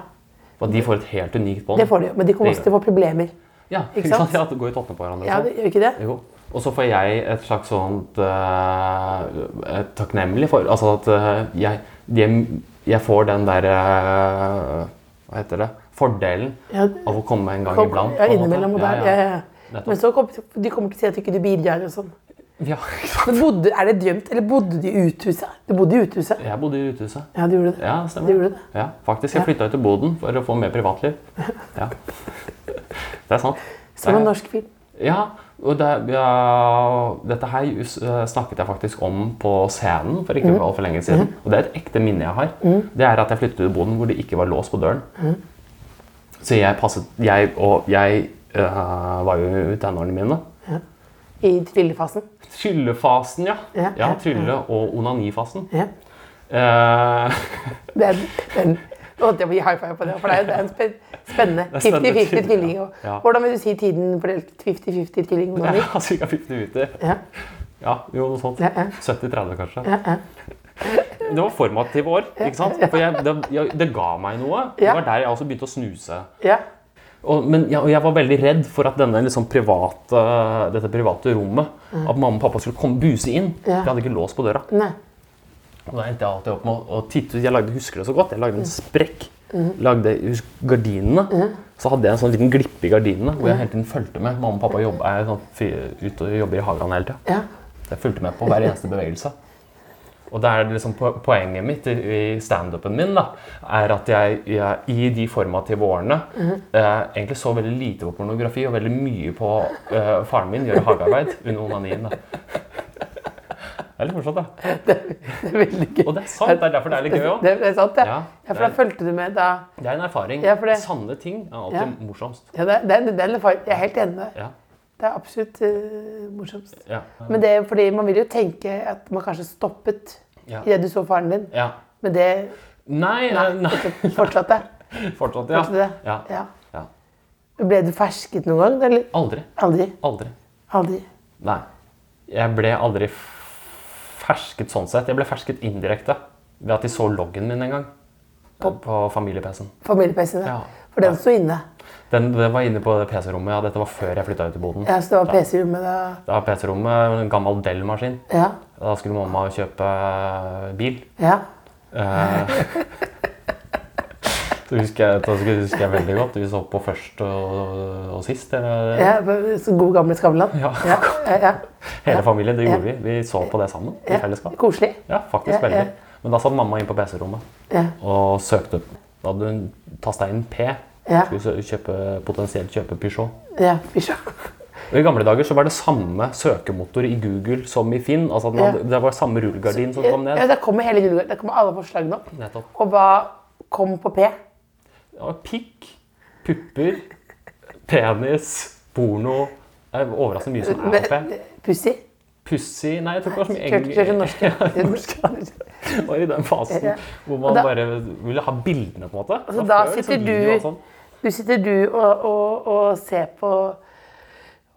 Speaker 5: Og de får et helt unikt bånd.
Speaker 3: det får de jo. Men de kommer også til å få problemer.
Speaker 5: Ja,
Speaker 3: ikke
Speaker 5: ikke sant?
Speaker 3: sant?
Speaker 5: Ja, det går i tottene på hverandre. og
Speaker 3: Ja,
Speaker 5: sånn.
Speaker 3: det, gjør ikke det?
Speaker 5: Jo. Og så får jeg et slags sånt eh, et takknemlig for Altså at eh, jeg, de, jeg får den der eh, Hva heter det? Fordelen
Speaker 3: Ja,
Speaker 5: av å komme en gang
Speaker 3: Kom-
Speaker 5: iblant.
Speaker 3: Ja,
Speaker 5: på en måte.
Speaker 3: innimellom og der. Ja, ja. ja.
Speaker 5: Nettopp.
Speaker 3: Men så kom, de kommer til å si at du ikke bidrar og sånn.
Speaker 5: Ja, ikke sant?
Speaker 3: Men bodde, er det drømt, eller bodde de i uthuset? Du bodde i uthuset?
Speaker 5: Jeg bodde i uthuset.
Speaker 3: Ja, du gjorde det.
Speaker 5: Ja, stemmer.
Speaker 3: Du gjorde det.
Speaker 5: Ja, faktisk. Jeg
Speaker 3: Ja.
Speaker 5: flytta ut til Boden for å få mer privatliv. Ja. Det er sant.
Speaker 3: Som en
Speaker 5: Ja.
Speaker 3: norsk film.
Speaker 5: Ja, Og det, ja, dette her jus- eh, snakket jeg faktisk om på scenen for
Speaker 3: Mm.
Speaker 5: ikke altfor lenge siden. Og det er et ekte minne jeg har. Det er at jeg flyttet til boden hvor det ikke var lås på døren.
Speaker 3: Mm.
Speaker 5: Så jeg passet jeg, Og jeg eh, var jo i tenårene mine.
Speaker 3: I trillefasen.
Speaker 5: Tryllefasen, ja.
Speaker 3: Ja, ja,
Speaker 5: Ja, Trylle- og onanifasen.
Speaker 3: Ja.
Speaker 5: Eh,
Speaker 3: Det er den. Nå holdt jeg på å gi high five på det, for det er, det er en spen- spennende
Speaker 5: er spennende
Speaker 3: 50-50
Speaker 5: tydelig,
Speaker 3: tvilling.
Speaker 5: ja.
Speaker 3: og-
Speaker 5: Ja.
Speaker 3: Hvordan vil du si tiden fordelt 50-50 tvilling? og
Speaker 5: altså, jeg
Speaker 3: onani?
Speaker 5: har sikkert 50 minutter.
Speaker 3: Ja.
Speaker 5: Ja, jo, noe sånt.
Speaker 3: Ja, ja.
Speaker 5: 70-30, kanskje. Det var formative år. ikke sant? For jeg, det, jeg, det ga meg noe. Det
Speaker 3: Ja.
Speaker 5: var der jeg også begynte å snuse.
Speaker 3: ja.
Speaker 5: Og, men jeg, og jeg var veldig redd for at denne liksom private, dette private rommet At mamma og pappa skulle komme buse inn.
Speaker 3: Mm. Ja.
Speaker 5: Jeg hadde ikke lås på døra.
Speaker 3: Nei.
Speaker 5: Og da endte jeg alltid opp med å, å titte ut. Jeg lagde, husker det så godt. Jeg lagde
Speaker 3: Mm.
Speaker 5: en sprekk. Lagde husk, gardinene. Så hadde jeg en sånn liten glippe i gardinene hvor jeg hele tiden fulgte med. Mamma og pappa jobb, er sånn, fri- ute og jobber i hagen hele tida.
Speaker 3: Ja.
Speaker 5: Så Jeg fulgte med på hver eneste bevegelse. Og det er liksom po- Poenget mitt i i standupen min da, er at jeg, jeg i de formative årene
Speaker 3: Mhm.
Speaker 5: eh, egentlig så veldig lite på pornografi og veldig mye på eh, faren min gjøre hagearbeid under onanien. da. Det er litt morsomt, da.
Speaker 3: Det er veldig gøy.
Speaker 5: Og det er sant. Det er derfor det er litt gøy òg.
Speaker 3: Det, det er sant, ja.
Speaker 5: Ja,
Speaker 3: ja for da
Speaker 5: det
Speaker 3: fulgte du med da.
Speaker 5: Det er en erfaring.
Speaker 3: Ja, for det-
Speaker 5: Sanne ting er alltid
Speaker 3: Ja.
Speaker 5: morsomst.
Speaker 3: Ja, det, det, er- det, er en erfaring. jeg er helt enig med deg.
Speaker 5: Ja,
Speaker 3: Det er absolutt eh, morsomst.
Speaker 5: ja,
Speaker 3: Men det, er fordi man vil jo tenke at man kanskje stoppet
Speaker 5: ja.
Speaker 3: i det du så faren din.
Speaker 5: ja.
Speaker 3: Men det
Speaker 5: Nei, nei,
Speaker 3: nei,
Speaker 5: nei.
Speaker 3: fortsatte.
Speaker 5: Fortsatt,
Speaker 3: fortsatte
Speaker 5: ja.
Speaker 3: det.
Speaker 5: ja.
Speaker 3: Ja.
Speaker 5: ja.
Speaker 3: Ble du fersket noen gang? Eller?
Speaker 5: Aldri.
Speaker 3: Aldri.
Speaker 5: Aldri.
Speaker 3: Aldri.
Speaker 5: Nei. Jeg ble aldri f- fersket sånn sett. Jeg ble fersket indirekte ved at de så loggen min en gang. På, på familie-PC-en.
Speaker 3: Familie-PC-en.
Speaker 5: Ja.
Speaker 3: For den sto inne.
Speaker 5: Den, den var inne på det PC-rommet. ja. Dette var før jeg flytta ut i boden.
Speaker 3: Ja, så det var PC-rommet da.
Speaker 5: Det var PC-rommet, en gammel Dell-maskin.
Speaker 3: Ja.
Speaker 5: Da skulle mamma kjøpe bil.
Speaker 3: ja.
Speaker 5: Eh, Det husker jeg, det husker husker jeg veldig godt. Vi så på først og, og sist. Eh, eller-
Speaker 3: ja. Så god gamle Skavlan.
Speaker 5: Ja.
Speaker 3: Ja. ja, ja.
Speaker 5: Hele familien. Det
Speaker 3: Ja.
Speaker 5: gjorde vi. Vi så på det sammen i fellesskap.
Speaker 3: Koselig.
Speaker 5: Ja, faktisk
Speaker 3: Ja, ja.
Speaker 5: veldig. Men da satt mamma inne på PC-rommet.
Speaker 3: Ja.
Speaker 5: og søkte. Da hadde hun tasta inn P.
Speaker 3: Ja.
Speaker 5: Skulle sø- kjøpe, potensielt kjøpe Peugeot.
Speaker 3: Ja, fy søren.
Speaker 5: Og I gamle dager så var det samme søkemotor i Google som i Finn. altså at den
Speaker 3: Ja.
Speaker 5: hadde, Det var samme rullegardin som kom
Speaker 3: Ja,
Speaker 5: ned.
Speaker 3: der kommer hele julegarden. Der kommer alle forslagene opp.
Speaker 5: Nettopp.
Speaker 3: Og hva kom på P?
Speaker 5: Det var pikk, pupper, penis, porno Det er overraskende mye som er på P.
Speaker 3: Pussy?
Speaker 5: Pussy Nei, jeg tror ikke det var så mye
Speaker 3: Kjørte kjørte norsk.
Speaker 5: Ja,
Speaker 3: Det er norsk.
Speaker 5: det var i den fasen
Speaker 3: Ja.
Speaker 5: hvor man
Speaker 3: da-
Speaker 5: bare ville ha bildene, på en måte.
Speaker 3: Altså,
Speaker 5: Det var
Speaker 3: da
Speaker 5: før, liksom,
Speaker 3: sitter
Speaker 5: video
Speaker 3: du-
Speaker 5: og sånn.
Speaker 3: Du sitter du og, og, og ser på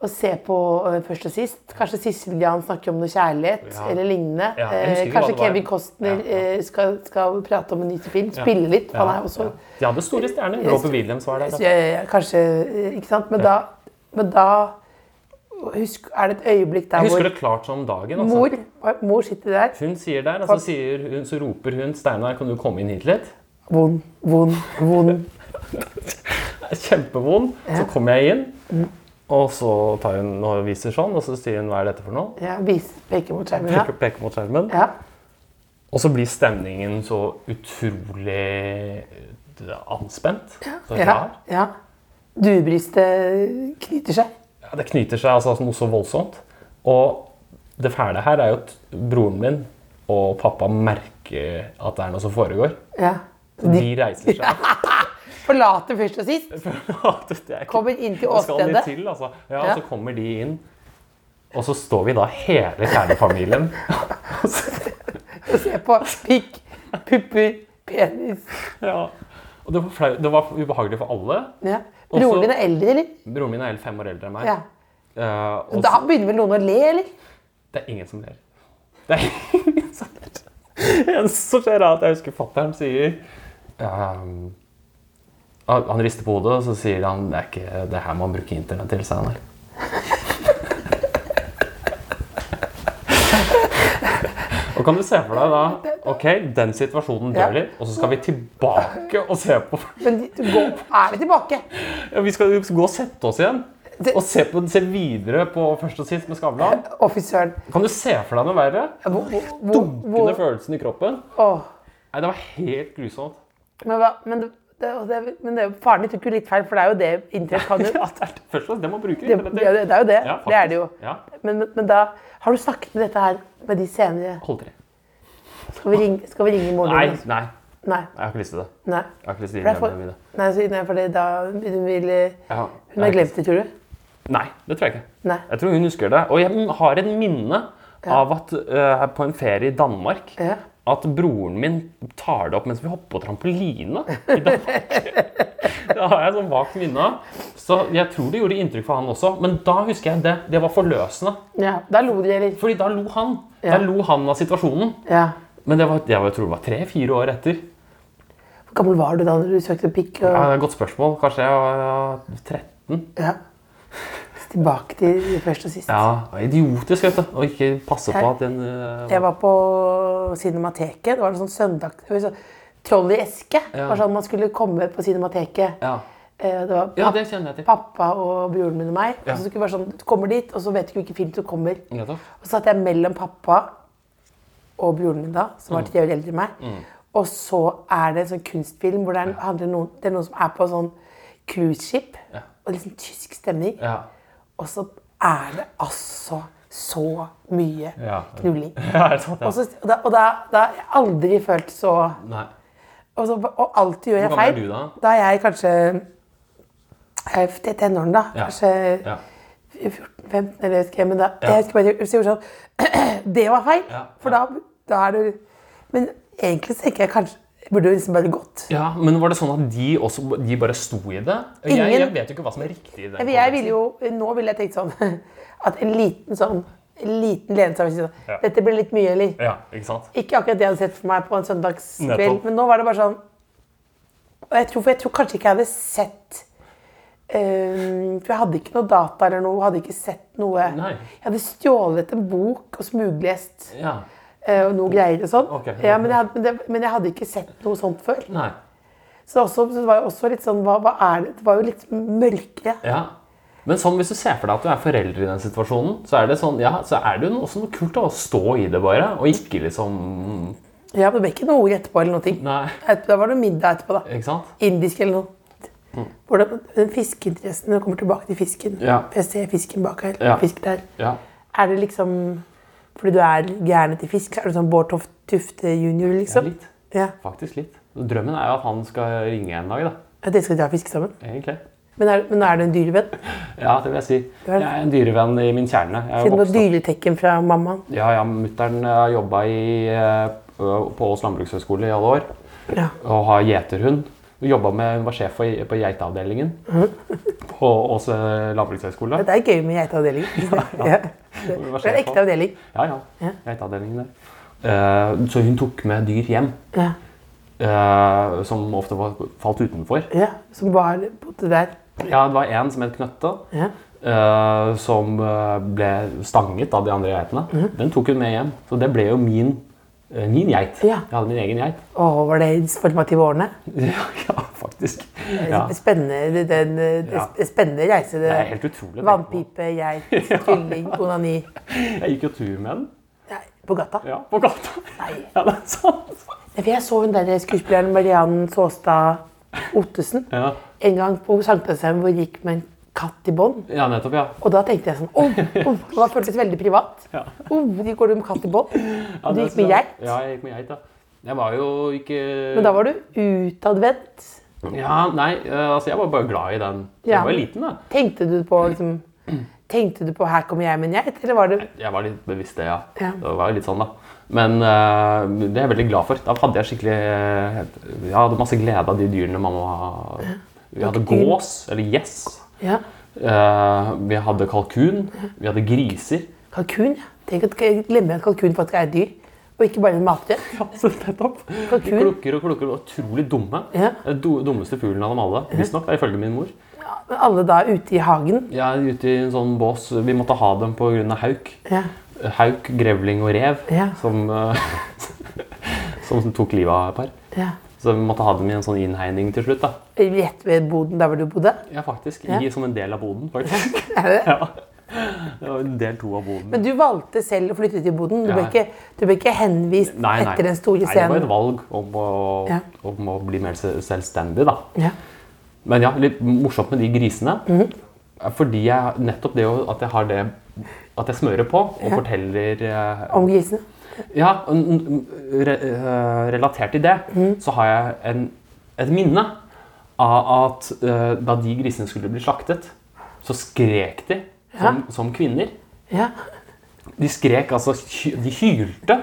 Speaker 3: og se på eh, først og sist. Kanskje Sissel Jan snakker om noe kjærlighet
Speaker 5: Ja.
Speaker 3: eller lignende.
Speaker 5: Ja, jeg husker
Speaker 3: Eh,
Speaker 5: ikke hva
Speaker 3: Kanskje
Speaker 5: det var.
Speaker 3: Kevin Costner
Speaker 5: Ja, ja.
Speaker 3: eh, skal, skal prate om en ny film.
Speaker 5: Ja.
Speaker 3: Spille litt.
Speaker 5: Ja,
Speaker 3: Han er også
Speaker 5: ja. De hadde store stjerner. Robert Williams var der. altså.
Speaker 3: Så
Speaker 5: da.
Speaker 3: jeg, jeg, kanskje, eh, ikke sant? Men, da, men da husk, er det et øyeblikk der
Speaker 5: Jeg husker
Speaker 3: hvor
Speaker 5: det klart som dagen. Altså.
Speaker 3: mor, mor sitter der
Speaker 5: Hun sier der, og så, sier hun, så roper hun 'Steinar, kan du komme inn hit litt?'
Speaker 3: Vond, vond, vond.
Speaker 5: Jeg er kjempevond. Så kommer jeg inn,
Speaker 3: Mm.
Speaker 5: og så tar hun og viser sånn, og så sier hun 'hva er dette for noe?'
Speaker 3: Ja, vis, peker mot skjermen. Ja.
Speaker 5: Peker, peker mot skjermen.
Speaker 3: Ja.
Speaker 5: Og så blir stemningen så utrolig eh, anspent. Så
Speaker 3: Ja.
Speaker 5: rar.
Speaker 3: ja. Duebrystet knyter seg.
Speaker 5: Ja, det knyter seg altså noe så voldsomt. Og det fæle her er jo at broren min og pappa merker at det er noe som foregår.
Speaker 3: Ja.
Speaker 5: De reiser seg.
Speaker 3: Forlater først og sist.
Speaker 5: Det er ikke
Speaker 3: Kommer inn til
Speaker 5: Det skal litt
Speaker 3: åstedet.
Speaker 5: til, altså. Ja,
Speaker 3: Ja.
Speaker 5: Så kommer de inn, og så står vi da hele kjernefamilien. Og så-
Speaker 3: og ser på pikk, pupper, penis.
Speaker 5: ja. Og det var, flau, det var ubehagelig for alle.
Speaker 3: Ja.
Speaker 5: Og så-
Speaker 3: Broren din er eldre, eller?
Speaker 5: Broren min er hele fem år eldre enn meg.
Speaker 3: Ja.
Speaker 5: Eh, og
Speaker 3: Da begynner vel noen å le, eller?
Speaker 5: Det er ingen som ler. Det er ingen som ler. Det eneste som skjer, er at jeg husker fatter'n sier ehm, Han han rister på hodet, og så sier han det er ikke det her man bruker internett til. sier han her. Og kan du se for deg da Ok, den situasjonen
Speaker 3: Ja.
Speaker 5: dør litt, og så skal vi tilbake og se på
Speaker 3: Men de- du går, er vi tilbake?
Speaker 5: ja, Vi skal jo gå og sette oss igjen. Og se, på, se videre på Først og sist med Skavlan.
Speaker 3: Offiseren.
Speaker 5: Kan du se for deg noe verre?
Speaker 3: Hvor, hvor, hvor,
Speaker 5: dunkende følelsen i kroppen.
Speaker 3: Åh.
Speaker 5: Nei, det var helt grusomt.
Speaker 3: Men, hva, men det- Det, og det, men det, er jo- faren din tok jo litt feil, for det er jo det internett kan jo
Speaker 5: Ja, det er først og fremst det man bruker.
Speaker 3: det,
Speaker 5: internett
Speaker 3: det,
Speaker 5: til.
Speaker 3: er jo det- det er jo det.
Speaker 5: Ja,
Speaker 3: det er det jo.
Speaker 5: faktisk. Ja.
Speaker 3: Men, men, men da har du snakket med dette her med de senere
Speaker 5: Hold tre.
Speaker 3: Skal vi ringe, skal vi ringe i morgen?
Speaker 5: Nei,
Speaker 3: eller?
Speaker 5: nei,
Speaker 3: Nei.
Speaker 5: jeg har ikke lyst til det.
Speaker 3: Nei.
Speaker 5: Jeg har ikke lyst til
Speaker 3: For det er
Speaker 5: innlemmene
Speaker 3: for,
Speaker 5: mine.
Speaker 3: nei, så, nei, for det, da hun vil
Speaker 5: Jeg har-
Speaker 3: Hun har
Speaker 5: jeg-
Speaker 3: glemt det, tror du?
Speaker 5: Nei, det tror jeg ikke.
Speaker 3: Nei.
Speaker 5: Jeg tror hun husker det. Og jeg har et minne av at eh, på en ferie i Danmark
Speaker 3: Ja.
Speaker 5: at broren min tar det opp mens vi hopper på trampoline i Danmark. det har jeg et sånn vagt minne av. Så jeg tror det gjorde inntrykk for han også. Men da husker jeg det. Det var forløsende.
Speaker 3: Ja. Da lo de, eller?
Speaker 5: Fordi da lo han.
Speaker 3: Ja.
Speaker 5: Da lo han av situasjonen.
Speaker 3: Ja.
Speaker 5: Men det var, jeg var- jeg tror det var tre-fire år etter.
Speaker 3: Hvor gammel var du da når du søkte pikk?
Speaker 5: Ja,
Speaker 3: Og,
Speaker 5: det er et Godt spørsmål. Kanskje jeg var ja, 13?
Speaker 3: ja. Tilbake til først og sist.
Speaker 5: Ja, det var idiotisk vet du, å ikke passe på at den eh,
Speaker 3: Jeg var på Cinemateket. Det var en sånn søndag... det var sånn Troll i eske. Det var sånn man skulle komme på Cinemateket.
Speaker 5: Ja.
Speaker 3: Eh, Det var
Speaker 5: Ja,
Speaker 3: pap-
Speaker 5: det kjenner jeg til.
Speaker 3: pappa og broren min og meg. Og så skulle det være sånn, Du kommer dit, og så vet du ikke hvilken film du kommer.
Speaker 5: Nettopp.
Speaker 3: Og så satt jeg mellom pappa og broren min da, som var
Speaker 5: Mm.
Speaker 3: tre år eldre enn meg. Og så er det en sånn kunstfilm hvor det er, handler noen, det er noen som er på sånn cruiseskip. Og liksom tysk stemning.
Speaker 5: Ja.
Speaker 3: Og så er det altså så mye
Speaker 5: Ja.
Speaker 3: knulling.
Speaker 5: Ja, er det sant?
Speaker 3: Og, så, og, da, og da, da har jeg aldri følt så
Speaker 5: Nei.
Speaker 3: Og, så, og alltid gjør jeg
Speaker 5: Hvor
Speaker 3: feil.
Speaker 5: gammel er du da?
Speaker 3: Da er jeg kanskje jeg er til tenåren, da.
Speaker 5: Ja.
Speaker 3: Kanskje
Speaker 5: Ja.
Speaker 3: 14-15, eller jeg husker, men da,
Speaker 5: Ja.
Speaker 3: jeg husker bare at jeg gjorde sånn Det var feil!
Speaker 5: Ja,
Speaker 3: For da,
Speaker 5: ja.
Speaker 3: da er du Men egentlig så tenker jeg kanskje jeg Burde jo liksom bare gått.
Speaker 5: Ja, men var det sånn at de også de bare sto i det? Jeg, jeg
Speaker 3: Ingen-
Speaker 5: vet jo ikke hva som er riktig i det.
Speaker 3: Jeg, jeg ville jo, Nå ville jeg tenkt sånn at en liten sånn en liten ledelse sånn,
Speaker 5: Ja.
Speaker 3: Dette ble litt mye, eller?
Speaker 5: Ja, ikke sant?
Speaker 3: Ikke akkurat det jeg hadde sett for meg på en søndagskveld,
Speaker 5: Nettopp.
Speaker 3: men nå var det bare sånn Og jeg tror, for jeg tror kanskje ikke jeg hadde sett eh, For jeg hadde ikke noe data eller noe. Hadde ikke sett noe.
Speaker 5: Nei.
Speaker 3: Jeg hadde stjålet en bok og smuglest
Speaker 5: Ja.
Speaker 3: eh, og noe greier og sånn.
Speaker 5: Ok.
Speaker 3: Ja, men, jeg hadde, men, det, men jeg hadde ikke sett noe sånt før.
Speaker 5: Nei.
Speaker 3: Så det, også, så det var jo også litt sånn hva, hva er det? Det var jo litt mørkere.
Speaker 5: Ja. Men sånn, hvis du ser for deg at du er forelder i den situasjonen, så er det sånn, ja, så er det jo også noe kult å stå i det bare, og ikke liksom
Speaker 3: Ja, men det ble ikke noe ord etterpå eller noe. ting.
Speaker 5: Nei.
Speaker 3: Etterpå, da var det middag etterpå, da.
Speaker 5: Ikke sant?
Speaker 3: Indisk eller noe. Hvordan, den fiskeinteressen, når du kommer tilbake til fisken
Speaker 5: Mm. Ja.
Speaker 3: Jeg ser fisken bak her,
Speaker 5: Ja.
Speaker 3: fisk der.
Speaker 5: Ja.
Speaker 3: Er det liksom Fordi du er gæren etter fisk, så er du sånn Bård Toft Tufte junior,
Speaker 5: ja.
Speaker 3: liksom?
Speaker 5: Litt.
Speaker 3: Ja.
Speaker 5: Faktisk litt. Drømmen er jo at han skal ringe en dag, da.
Speaker 3: At dere skal dra og fiske sammen?
Speaker 5: Egentlig.
Speaker 3: Men er, men er du en dyrevenn?
Speaker 5: Ja, det vil jeg si. Jeg er en dyrevenn i min kjerne. Jeg er
Speaker 3: Siden du har
Speaker 5: vokst opp-
Speaker 3: dyretekken fra mammaen.
Speaker 5: Ja, ja, mutter'n har jobba på Ås landbrukshøgskole i alle år.
Speaker 3: Ja.
Speaker 5: Og har gjeterhund. Hun jobbet med, hun var sjef for, på geiteavdelingen på Ås eh, landbrukshøgskole.
Speaker 3: Det er gøy med geiteavdelingen. Ja.
Speaker 5: Hun var
Speaker 3: Det er en
Speaker 5: sjef
Speaker 3: ekte
Speaker 5: for-
Speaker 3: avdeling.
Speaker 5: Ja, ja. Geiteavdelingen der. Eh, så hun tok med dyr hjem,
Speaker 3: Ja.
Speaker 5: eh, som ofte var, falt utenfor.
Speaker 3: ja. Som var bodde der.
Speaker 5: Ja, det var en som het Knøtte.
Speaker 3: Ja.
Speaker 5: eh, som eh, ble stanget av de andre geitene. Den tok hun med hjem. Så det ble jo min, eh, min geit.
Speaker 3: Ja.
Speaker 5: Jeg hadde min egen geit.
Speaker 3: Å, var det i de formative årene?
Speaker 5: Ja, ja faktisk. Ja.
Speaker 3: Ja. Spennende, den, eh,
Speaker 5: Ja.
Speaker 3: sp- spennende reise. Det
Speaker 5: Det er helt utrolig. å tenke på.
Speaker 3: Vannpipe, geit, kylling, onani.
Speaker 5: Jeg gikk jo tur med den
Speaker 3: Nei, på gata.
Speaker 5: ja, på gata.
Speaker 3: Nei.
Speaker 5: Ja, det er sant.
Speaker 3: Nei, for Jeg så hun der skuespilleren Mariann Saastad Ottesen
Speaker 5: Ja.
Speaker 3: en gang på Sankthansheim hvor hun gikk med en katt i bånd.
Speaker 5: ja, nettopp, ja.
Speaker 3: Og da tenkte jeg sånn oh, oh, og Da føltes det veldig privat. Oh, de går med katt i bånd.
Speaker 5: ja
Speaker 3: Og du
Speaker 5: det
Speaker 3: gikk med
Speaker 5: synes jeg-
Speaker 3: geit.
Speaker 5: Ja, jeg gikk med geit, ja. Jeg var jo ikke
Speaker 3: Men da var du utadvendt.
Speaker 5: Ja, nei, eh, altså jeg var bare glad i den. Jeg
Speaker 3: Ja.
Speaker 5: var liten, da.
Speaker 3: Tenkte du på liksom Tenkte du på 'her kommer jeg med en geit'? Eller var det
Speaker 5: Jeg var litt bevisst det, ja.
Speaker 3: Ja.
Speaker 5: Det var litt sånn, da. Men eh, det er jeg veldig glad for. Da hadde jeg skikkelig eh, Jeg hadde masse glede av de dyrene mamma Vi hadde
Speaker 3: Dere dyr.
Speaker 5: gås, eller gjess.
Speaker 3: ja,
Speaker 5: Eh, vi hadde kalkun. Vi hadde griser.
Speaker 3: kalkun? ja. Tenk at jeg glemmer at kalkun faktisk er et dyr, og ikke bare en matrett.
Speaker 5: Altså, nettopp. De
Speaker 3: Kalkun.
Speaker 5: klukker og klukker. og Utrolig dumme.
Speaker 3: Ja.
Speaker 5: Den do- dummeste fuglen av dem alle. Visstnok, ifølge min mor.
Speaker 3: Men alle da ute i hagen.
Speaker 5: Jeg er ute i en sånn bås. Vi måtte ha dem pga. hauk.
Speaker 3: Ja.
Speaker 5: Hauk, grevling og rev
Speaker 3: Ja.
Speaker 5: som, eh, som tok livet av et par.
Speaker 3: ja.
Speaker 5: Så vi måtte ha dem i en sånn innhegning til slutt. da.
Speaker 3: Rett ved boden der hvor du bodde.
Speaker 5: Ja, faktisk.
Speaker 3: Ja.
Speaker 5: I, som en del av boden, faktisk.
Speaker 3: Er det det?
Speaker 5: Ja. Det var Del to av boden.
Speaker 3: Men du valgte selv å flytte ut i boden. Du ble
Speaker 5: Ja.
Speaker 3: ikke, du ble ikke henvist
Speaker 5: Nei, nei.
Speaker 3: etter den store
Speaker 5: Nei, det var et
Speaker 3: scenen.
Speaker 5: valg om å,
Speaker 3: Ja.
Speaker 5: om å bli mer se- selvstendig, da.
Speaker 3: Ja.
Speaker 5: Men ja, litt morsomt med de grisene.
Speaker 3: Mhm.
Speaker 5: Fordi jeg, nettopp det å- at jeg har det At jeg smører på og forteller eh,
Speaker 3: Om grisene.
Speaker 5: Ja, og n- n- re, eh, relatert til det, så har jeg en, et minne av at eh, da de grisene skulle bli slaktet, så skrek de som, som kvinner.
Speaker 3: Ja.
Speaker 5: De skrek, altså hy- De hylte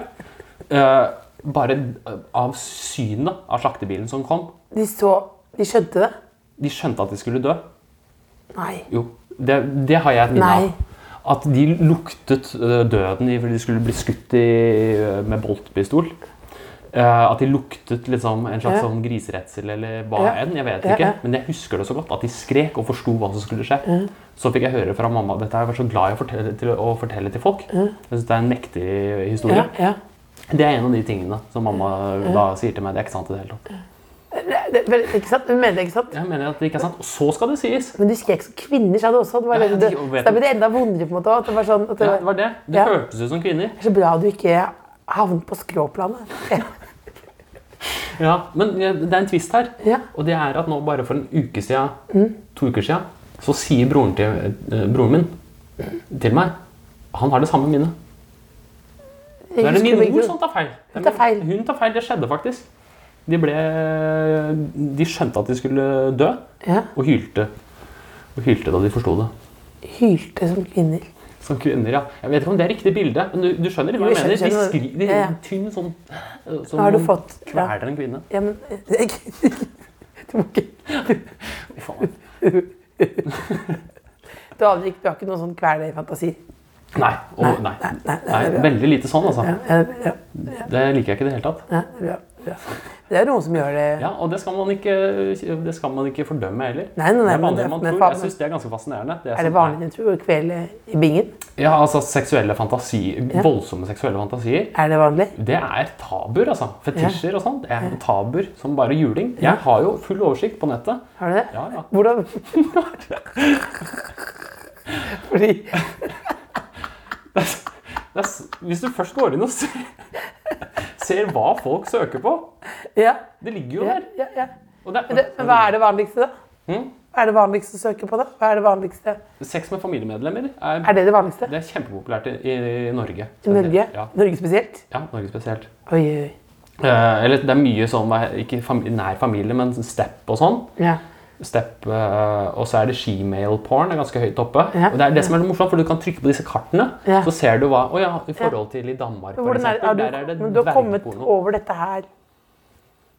Speaker 5: eh, bare eh, av synet av slaktebilen som kom.
Speaker 3: De så De skjønte det?
Speaker 5: De skjønte at de skulle dø.
Speaker 3: Nei.
Speaker 5: Jo, det, det har jeg et minne
Speaker 3: Nei.
Speaker 5: av. At de luktet eh, døden i- fordi de skulle bli skutt i, eh, med boltpistol. Eh, at de luktet liksom, en slags
Speaker 3: Ja.
Speaker 5: sånn griseredsel eller hva
Speaker 3: Ja.
Speaker 5: enn. jeg vet
Speaker 3: Ja,
Speaker 5: ikke,
Speaker 3: ja.
Speaker 5: Men jeg husker det så godt. At de skrek og forsto hva som skulle skje. Så fikk jeg høre fra mamma Dette har jeg vært så glad i å fortelle til, å fortelle til folk. Jeg synes Det er en mektig historie.
Speaker 3: Ja, ja.
Speaker 5: Det er en av de tingene som mamma da sier til meg. Det er ikke sant i det hele tatt.
Speaker 3: Det, det, vel, ikke sant? Du mener det, ikke sant?
Speaker 5: Jeg mener at det ikke er sant. Og så skal det sies!
Speaker 3: Men du skrek som kvinner, sa du også. Det var
Speaker 5: Ja,
Speaker 3: det,
Speaker 5: ja,
Speaker 3: det,
Speaker 5: de- og
Speaker 3: så
Speaker 5: vet
Speaker 3: da
Speaker 5: du-
Speaker 3: ble det enda vondere, på en måte. At det var sånn, at det
Speaker 5: Ja,
Speaker 3: var,
Speaker 5: det var det. Det
Speaker 3: Ja.
Speaker 5: hørtes ut som kvinner.
Speaker 3: Det er så bra du ikke havnet på skråplanet.
Speaker 5: Ja, men det er en twist her.
Speaker 3: Ja. Mm.
Speaker 5: Og det er at nå bare for en uke siden, to uker siden, så sier broren, til, eh, broren min til meg Han har det samme minnet. Så er det sånn. min mor som tar feil.
Speaker 3: Hun tar feil.
Speaker 5: Hun tar feil. Det skjedde faktisk. De ble De skjønte at de skulle dø,
Speaker 3: Ja.
Speaker 5: og hylte. Og hylte da de forsto det.
Speaker 3: Hylte som kvinner.
Speaker 5: Som kvinner, ja. Jeg vet ikke om det er riktig bilde, men du, du skjønner hva
Speaker 3: Jo,
Speaker 5: jeg
Speaker 3: jeg
Speaker 5: mener? De
Speaker 3: skjønner-
Speaker 5: skri, de
Speaker 3: Ja, ja.
Speaker 5: tynn sånn eh, Som
Speaker 3: Har du fått- ja.
Speaker 5: kveler en kvinne.
Speaker 3: Ja, men det er ikke- Du må ikke
Speaker 5: Fy faen.
Speaker 3: Du har ikke, du har ikke noen sånn kvelerfantasi?
Speaker 5: Nei. å, nei.
Speaker 3: Nei, nei, nei,
Speaker 5: Nei,
Speaker 3: det er bra.
Speaker 5: veldig lite sånn, altså.
Speaker 3: Ja, ja, det er bra.
Speaker 5: Det liker jeg ikke i det hele tatt.
Speaker 3: Ja, det er bra. bra. Det er noen som gjør det
Speaker 5: Ja, Og det skal man ikke, det skal man ikke fordømme heller.
Speaker 3: Nei, nei, nei,
Speaker 5: det er
Speaker 3: men
Speaker 5: vanligere
Speaker 3: det-
Speaker 5: enn man
Speaker 3: men
Speaker 5: tror.
Speaker 3: faen-
Speaker 5: Jeg syns det er ganske fascinerende.
Speaker 3: Er det
Speaker 5: som
Speaker 3: vanlig tror du, å kvele i bingen?
Speaker 5: Ja, altså seksuelle fantasier, Voldsomme seksuelle fantasier.
Speaker 3: Er det vanlig?
Speaker 5: Det er tabuer, altså. Fetisjer og sånn. Det er tabuer som bare juling. Jeg har jo full oversikt på nettet.
Speaker 3: Har du det?
Speaker 5: Ja, ja.
Speaker 3: Hvordan Fordi
Speaker 5: Det er, s- hvis du først går inn og ser, ser hva folk søker på
Speaker 3: Ja.
Speaker 5: Det ligger jo
Speaker 3: ja,
Speaker 5: der.
Speaker 3: ja, ja.
Speaker 5: Og det er-
Speaker 3: Men, det, men hva er det vanligste, da?
Speaker 5: Mm.
Speaker 3: Hva er det vanligste å søke på, da? Hva er det vanligste?
Speaker 5: Sex med familiemedlemmer er,
Speaker 3: Er det det vanligste?
Speaker 5: det er kjempepopulært i, i, Norge.
Speaker 3: I Norge?
Speaker 5: Ja,
Speaker 3: Norge spesielt?
Speaker 5: ja, Norge spesielt.
Speaker 3: Oi, oi, oi.
Speaker 5: Eh, eller det er mye sånn, ikke fami nær familie, men step og sånn.
Speaker 3: Ja.
Speaker 5: Step, eh, og så er det shemale-porn er ganske høyt oppe.
Speaker 3: Ja.
Speaker 5: Og det er det som er litt morsomt, for du kan trykke på disse kartene,
Speaker 3: Ja.
Speaker 5: så ser du hva Å ja, i forhold til i Danmark, for
Speaker 3: Hvordan er,
Speaker 5: eksempel.
Speaker 3: har du,
Speaker 5: der er det
Speaker 3: men du har kommet
Speaker 5: dvergporno.
Speaker 3: over dette her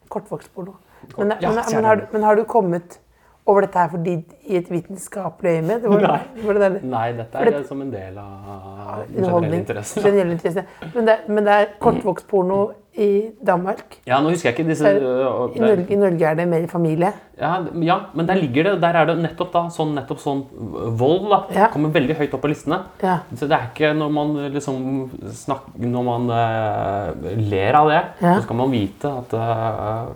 Speaker 3: Kortvokstporno. Men,
Speaker 5: Ja,
Speaker 3: men,
Speaker 5: ser
Speaker 3: men, har,
Speaker 5: du.
Speaker 3: du- men har du kommet over dette her fordi i et vitenskapelig øyemed? Hvordan-
Speaker 5: Nei.
Speaker 3: hvordan er det?
Speaker 5: Nei, dette
Speaker 3: For
Speaker 5: er
Speaker 3: det-
Speaker 5: som en del av den generelle
Speaker 3: Underholdning.
Speaker 5: interessen.
Speaker 3: Generell interesse. Men det, men det er kortvokstporno i Danmark.
Speaker 5: Ja, nå husker jeg ikke disse
Speaker 3: Er det-
Speaker 5: øh,
Speaker 3: I Norge, I Norge er det mer i familie.
Speaker 5: ja, ja, men der ligger det. og Der er det nettopp da, sånn, nettopp sånn vold. da,
Speaker 3: Ja.
Speaker 5: Kommer veldig høyt opp på listene.
Speaker 3: Ja.
Speaker 5: Så det er ikke når man liksom snak- Når man eh, ler av det,
Speaker 3: Ja.
Speaker 5: så skal man vite at eh,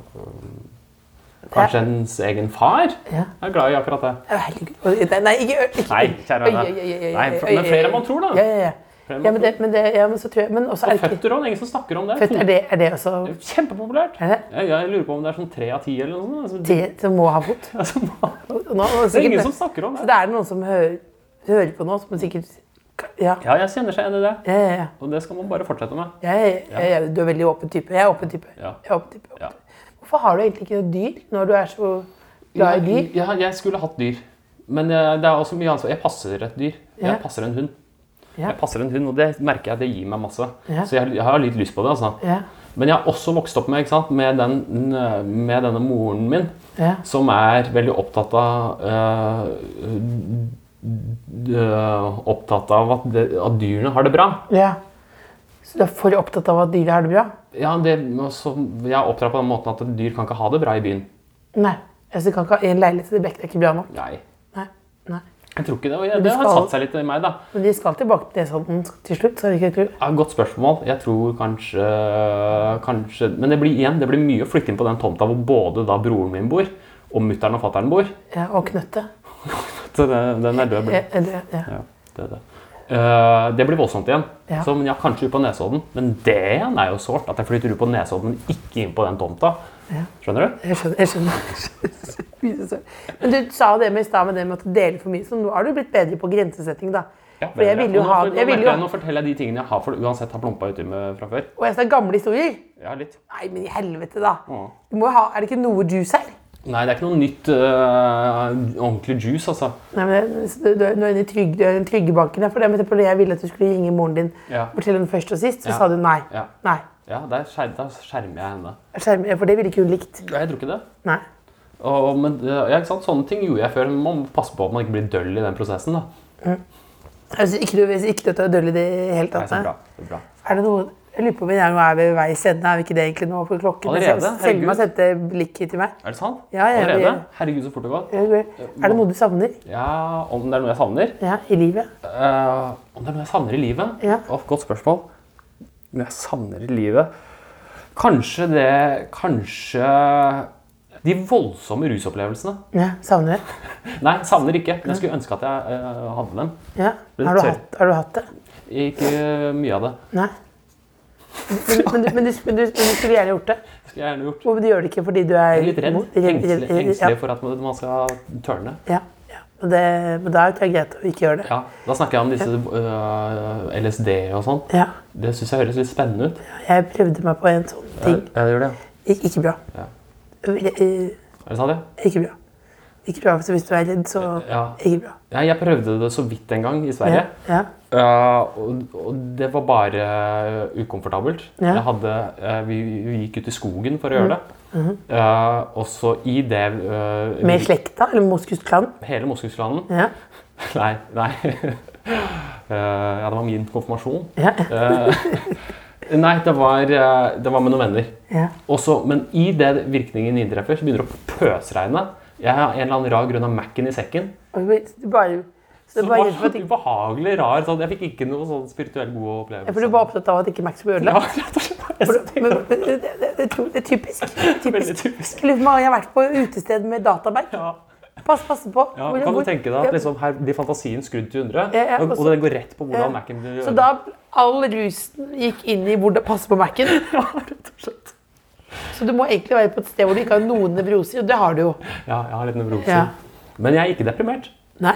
Speaker 5: kanskje ens egen far
Speaker 3: Ja.
Speaker 5: er glad i akkurat det.
Speaker 3: Å, Herregud. Oi, Nei, nei, ikke, ikke
Speaker 5: Nei,
Speaker 3: Oi,
Speaker 5: kjære vene.
Speaker 3: oi, oi, oi, oi,
Speaker 5: Nei,
Speaker 3: oi,
Speaker 5: for-
Speaker 3: oi,
Speaker 5: men flere enn man
Speaker 3: oi.
Speaker 5: tror, da.
Speaker 3: Ja, ja, ja.
Speaker 5: Flere enn
Speaker 3: Ja,
Speaker 5: man
Speaker 3: men det, men det, ja, men så tror jeg Men også er det ikke
Speaker 5: Føtter og ingen som snakker om det.
Speaker 3: Født, er det, er det også
Speaker 5: Kjempepopulært.
Speaker 3: Er det?
Speaker 5: Jeg, jeg lurer på om det er sånn tre av ti eller noe sånt.
Speaker 3: det som må ha fot?
Speaker 5: Altså, altså,
Speaker 3: Og Nå, og
Speaker 5: det er
Speaker 3: sikkert-
Speaker 5: ingen som snakker om
Speaker 3: Så
Speaker 5: det.
Speaker 3: det er noen som hører, hører på nå,
Speaker 5: Mm.
Speaker 3: som sikkert Ja.
Speaker 5: Ja, jeg kjenner seg igjen i det.
Speaker 3: ja, ja, ja.
Speaker 5: Og det skal man bare fortsette med.
Speaker 3: Jeg, jeg, jeg, du er veldig åpen type. Jeg er åpen type.
Speaker 5: Ja.
Speaker 3: Jeg er åpen type.
Speaker 5: Ja.
Speaker 3: Hvorfor har du egentlig ikke noe dyr når du er så glad i dyr?
Speaker 5: Ja, jeg skulle hatt dyr. Men eh, det er også mye ansvar. Jeg passer et dyr.
Speaker 3: Ja.
Speaker 5: Jeg passer en hund.
Speaker 3: Ja.
Speaker 5: Jeg passer en hund, og det merker jeg det gir meg masse.
Speaker 3: Ja.
Speaker 5: Så jeg, jeg har litt lyst på det. altså.
Speaker 3: Ja.
Speaker 5: Men jeg har også vokst opp med, ikke sant, med, den, eh, med denne moren min,
Speaker 3: Ja.
Speaker 5: som er veldig opptatt av eh, d- d- Opptatt av at, det, at dyrene har det bra.
Speaker 3: ja. Så du er for opptatt av at dyret har det bra?
Speaker 5: Ja, det, også, jeg er oppdratt på den måten at dyr kan ikke ha det bra i byen.
Speaker 3: Nei. Altså, du kan ikke ha én leilighet til Beck. Det er ikke bra nok.
Speaker 5: Nei.
Speaker 3: Nei. Nei.
Speaker 5: Jeg tror ikke det. Og jeg,
Speaker 3: du
Speaker 5: det har
Speaker 3: skal-
Speaker 5: satt seg litt i meg, da.
Speaker 3: Men de skal tilbake til sånn til slutt, skal de ikke tro?
Speaker 5: Ja, godt spørsmål. Jeg tror kanskje, kanskje Men det blir igjen, det blir mye å flytte inn på den tomta hvor både da broren min bor, og mutter'n og fatter'n bor.
Speaker 3: Ja, og knøtte.
Speaker 5: Så den, den er
Speaker 3: Ja,
Speaker 5: død. blir-
Speaker 3: eller- ja.
Speaker 5: Ja, det er det. Eh, det blir voldsomt igjen.
Speaker 3: Ja.
Speaker 5: Så men ja, kanskje ut på Nesodden, men det igjen er jo sårt. At jeg flytter ut på Nesodden, men ikke inn på den tomta. Skjønner du?
Speaker 3: Jeg skjønner. Jeg skjønner. Jeg skjønner. så- Men du sa jo det med i stad med det med at dele for mye, så nå har du blitt bedre på grensesetting, da. For jeg
Speaker 5: bedre.
Speaker 3: ville jo
Speaker 5: Og nå
Speaker 3: ha
Speaker 5: for- nå
Speaker 3: jeg ville
Speaker 5: merker
Speaker 3: jo,
Speaker 5: jeg- Nå forteller jeg de tingene jeg har for, uansett har plumpa uti med fra før.
Speaker 3: Og jeg sa gamle historier.
Speaker 5: Ja, litt.
Speaker 3: Nei, men i helvete, da.
Speaker 5: Ja.
Speaker 3: Du må jo ha, er det ikke noe juice her?
Speaker 5: Nei, det er ikke noe nytt eh, ordentlig juice, altså.
Speaker 3: Nei, men det- du, du er nå inne i trygg, du er i den trygge banken. ja, For det er med på det jeg ville at du skulle ringe moren din
Speaker 5: Ja.
Speaker 3: fortelle henne først og sist, så
Speaker 5: Ja.
Speaker 3: sa du nei.
Speaker 5: Ja,
Speaker 3: Nei.
Speaker 5: ja der, skjer, der skjermer jeg henne.
Speaker 3: Skjerm, ja, for det ville ikke hun likt.
Speaker 5: Ja, Jeg tror ikke det.
Speaker 3: Nei.
Speaker 5: Og, men, ja, ikke sant? Sånne ting gjorde jeg før. men Man må passe på at man ikke blir døll i den prosessen. da.
Speaker 3: Altså, ikke, du, ikke dette er døll i det hele
Speaker 5: Nei,
Speaker 3: tatt.
Speaker 5: så
Speaker 3: nei.
Speaker 5: bra. Så bra.
Speaker 3: Er det noe jeg lurer på om vi er- nå er ved veis ende, er vi ikke det egentlig nå? For klokken
Speaker 5: Allerede?
Speaker 3: Sel- Selma
Speaker 5: Herregud.
Speaker 3: sendte blikket til meg.
Speaker 5: Er det sant?
Speaker 3: Ja, ja,
Speaker 5: Allerede?
Speaker 3: vi-
Speaker 5: Herregud, så fort det går.
Speaker 3: Er det noe du savner?
Speaker 5: Ja, Om det er noe jeg savner?
Speaker 3: Ja, i livet?
Speaker 5: Eh, om det er noe jeg savner i livet?
Speaker 3: Ja.
Speaker 5: Åh, godt spørsmål. Noe jeg savner i livet Kanskje det Kanskje de voldsomme rusopplevelsene.
Speaker 3: Ja, savner det.
Speaker 5: Nei, savner ikke. Men jeg skulle ønske at jeg eh, hadde dem.
Speaker 3: Ja.
Speaker 5: Litt
Speaker 3: Har, du
Speaker 5: tørr.
Speaker 3: hatt, har du hatt det?
Speaker 5: Ikke mye av det.
Speaker 3: Nei. Men, men, du- men, du, men, du, men du skulle gjerne gjort det.
Speaker 5: Det skulle jeg gjerne gjort.
Speaker 3: Og du gjør det ikke fordi du er
Speaker 5: Jeg er litt redd.
Speaker 3: imot-
Speaker 5: Engstelig,
Speaker 3: Ja,
Speaker 5: engstelig for at man skal tørne.
Speaker 3: ja, ja. Og det, men da er det greit å ikke gjøre det.
Speaker 5: Ja, Da snakker jeg om disse øh, LSD og sånn.
Speaker 3: Ja.
Speaker 5: Det syns jeg høres litt spennende ut.
Speaker 3: Jeg prøvde meg på en sånn ting.
Speaker 5: Ja, det gjør det. ja.
Speaker 3: Ik ikke bra.
Speaker 5: Ja.
Speaker 3: Eh,
Speaker 5: Er det sant, ja?
Speaker 3: Ikke bra. Ikke bra, så hvis du er redd, så
Speaker 5: Ja.
Speaker 3: ikke bra.
Speaker 5: ja? Jeg prøvde det så vidt en gang i Sverige.
Speaker 3: Ja. ja.
Speaker 5: Ja, og, og det var bare ukomfortabelt.
Speaker 3: Ja.
Speaker 5: Jeg hadde, eh, vi, vi gikk ut i skogen for å gjøre det. Ja, og så i det eh,
Speaker 3: Med
Speaker 5: vi-
Speaker 3: slekta, eller moskusklan.
Speaker 5: Hele Moskuslanden.
Speaker 3: Ja.
Speaker 5: Nei. nei. Eh, ja, det var min konfirmasjon.
Speaker 3: Ja.
Speaker 5: Eh, nei, det var, eh, det var med noen venner.
Speaker 3: Ja.
Speaker 5: Og så- men i det virkningen inntreffer, så begynner det å pøsregne. Jeg har en eller annen rar grunn av Mac-en i sekken.
Speaker 3: Og vi- så Bare, så det
Speaker 5: Så det
Speaker 3: bare
Speaker 5: var
Speaker 3: redd for,
Speaker 5: så
Speaker 3: at ikke,
Speaker 5: ubehagelig rar. Sånn. Jeg fikk ikke noe sånn spirituell god opplevelse.
Speaker 3: for du var opptatt av at ikke Max skulle
Speaker 5: ja,
Speaker 3: ødelegge.
Speaker 5: rett og slett.
Speaker 3: For det-
Speaker 5: Jeg
Speaker 3: Men,
Speaker 5: tenkte
Speaker 3: men det, det, det, tror- det er typisk.
Speaker 5: Veldig
Speaker 3: typisk.
Speaker 5: typisk.
Speaker 3: Jeg lurer på om jeg har vært på utested med databag.
Speaker 5: Ja.
Speaker 3: Pass, pass på.
Speaker 5: Ja,
Speaker 3: Hvor-
Speaker 5: kan du
Speaker 3: hvor-
Speaker 5: tenke deg
Speaker 3: Ja.
Speaker 5: at liksom, her blir fantasien skrudd til 100,
Speaker 3: Ja, ja, og
Speaker 5: og, og
Speaker 3: så-
Speaker 5: den går rett på hvordan
Speaker 3: Ja.
Speaker 5: Mac-en blir
Speaker 3: Så da all rusen gikk inn i hvor det passer på Mac-en.
Speaker 5: Ja, rett og slett.
Speaker 3: Så du må egentlig være på et sted hvor du ikke har noen nevroser, og det har du jo.
Speaker 5: Ja, jeg har litt nevroser.
Speaker 3: Ja.
Speaker 5: Men jeg er ikke deprimert.
Speaker 3: Nei.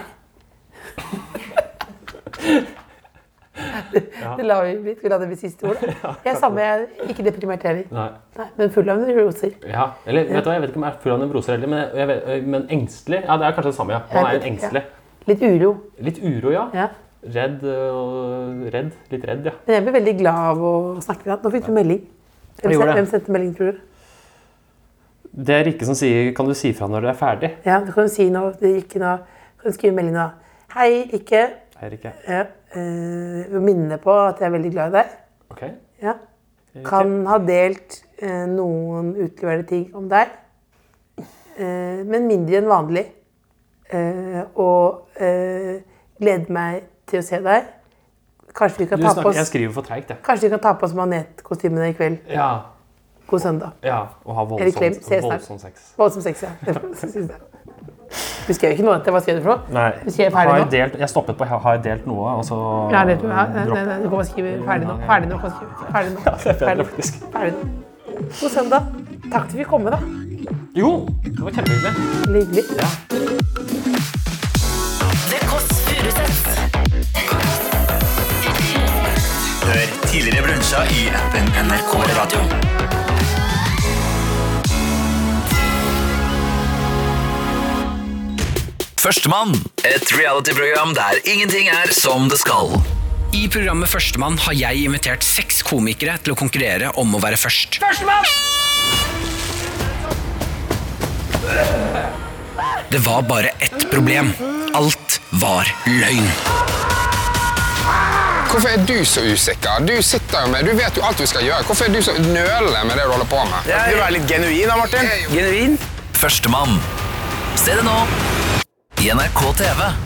Speaker 3: Det la vi litt la det bli siste ord. da. Jeg er samme, jeg er ikke deprimert heller.
Speaker 5: Nei.
Speaker 3: Nei, men full av nevroser.
Speaker 5: Ja, eller vet du hva, jeg vet ikke om jeg er full av nevroser heller, men, jeg vet, men engstelig? Ja, det er kanskje det samme, ja. Man er jo engstelig.
Speaker 3: Litt uro.
Speaker 5: Litt uro, ja.
Speaker 3: Ja.
Speaker 5: Redd øh, redd. Litt redd, ja.
Speaker 3: Men jeg ble veldig glad av å snakke med deg. Nå fikk du melding. Hvem,
Speaker 5: Jeg gjorde
Speaker 3: sen-
Speaker 5: det.
Speaker 3: hvem sendte melding, tror du?
Speaker 5: Det er Rikke som sier 'kan du si fra når du er ferdig'?
Speaker 3: Ja, du kan jo si nå, det gikk nå. Kan du skrive melding nå? Hei, ikke.
Speaker 5: Hei, Rikke.
Speaker 3: Ja, eh, minne på at jeg er veldig glad i deg.
Speaker 5: Ok.
Speaker 3: Ja.
Speaker 5: Eh,
Speaker 3: Kan ha delt eh, noen utleverte ting om deg, eh, men mindre enn vanlig. Eh, og eh, gleder meg til å se deg. Kanskje vi
Speaker 5: Du
Speaker 3: kan ta på
Speaker 5: snakker, jeg
Speaker 3: oss,
Speaker 5: skriver for treigt, jeg.
Speaker 3: kanskje vi kan ta på oss manetkostymene i kveld.
Speaker 5: Ja.
Speaker 3: God søndag.
Speaker 5: ja. Og har
Speaker 3: Eller klem.
Speaker 5: voldsom,
Speaker 3: Se snart.
Speaker 5: voldsom sex.
Speaker 3: Voldsom sex, ja. Det var- så synes jeg. Husker jeg jo ikke noe annet. Hva skrev du for noe?
Speaker 5: Nei.
Speaker 3: Hvis jeg er ferdig
Speaker 5: har jeg
Speaker 3: nå?
Speaker 5: delt, jeg stoppet på 'har jeg delt noe', og så
Speaker 3: Ja, det tror jeg. Nei, nei,
Speaker 5: droppet-
Speaker 3: nei, du kan bare skrive ferdig nå. Ferdig nå. kan du skrive. Ferdig nå.
Speaker 5: Mm, Det er bedre,
Speaker 3: Ferdig.
Speaker 5: faktisk.
Speaker 3: Ferdig nå. God søndag. Takk til vi kom, da.
Speaker 5: Jo, det var kjempehyggelig.
Speaker 3: Veldig hyggelig.
Speaker 2: Det Kåss Furuseths.
Speaker 6: Hør tidligere brunsja i appen NRK Radio. Førstemann. Et realityprogram der ingenting er som det skal.
Speaker 7: I programmet Førstemann har jeg invitert seks komikere til å konkurrere om å være først. Det var bare ett problem. Alt var løgn.
Speaker 8: Hvorfor er du så usikker? Du sitter jo med, du vet jo alt vi skal gjøre. Hvorfor er du så nølende med det du holder på med?
Speaker 6: Du er litt genuin da, Martin.
Speaker 7: Genuin?
Speaker 6: Førstemann. Se det nå i NRK TV.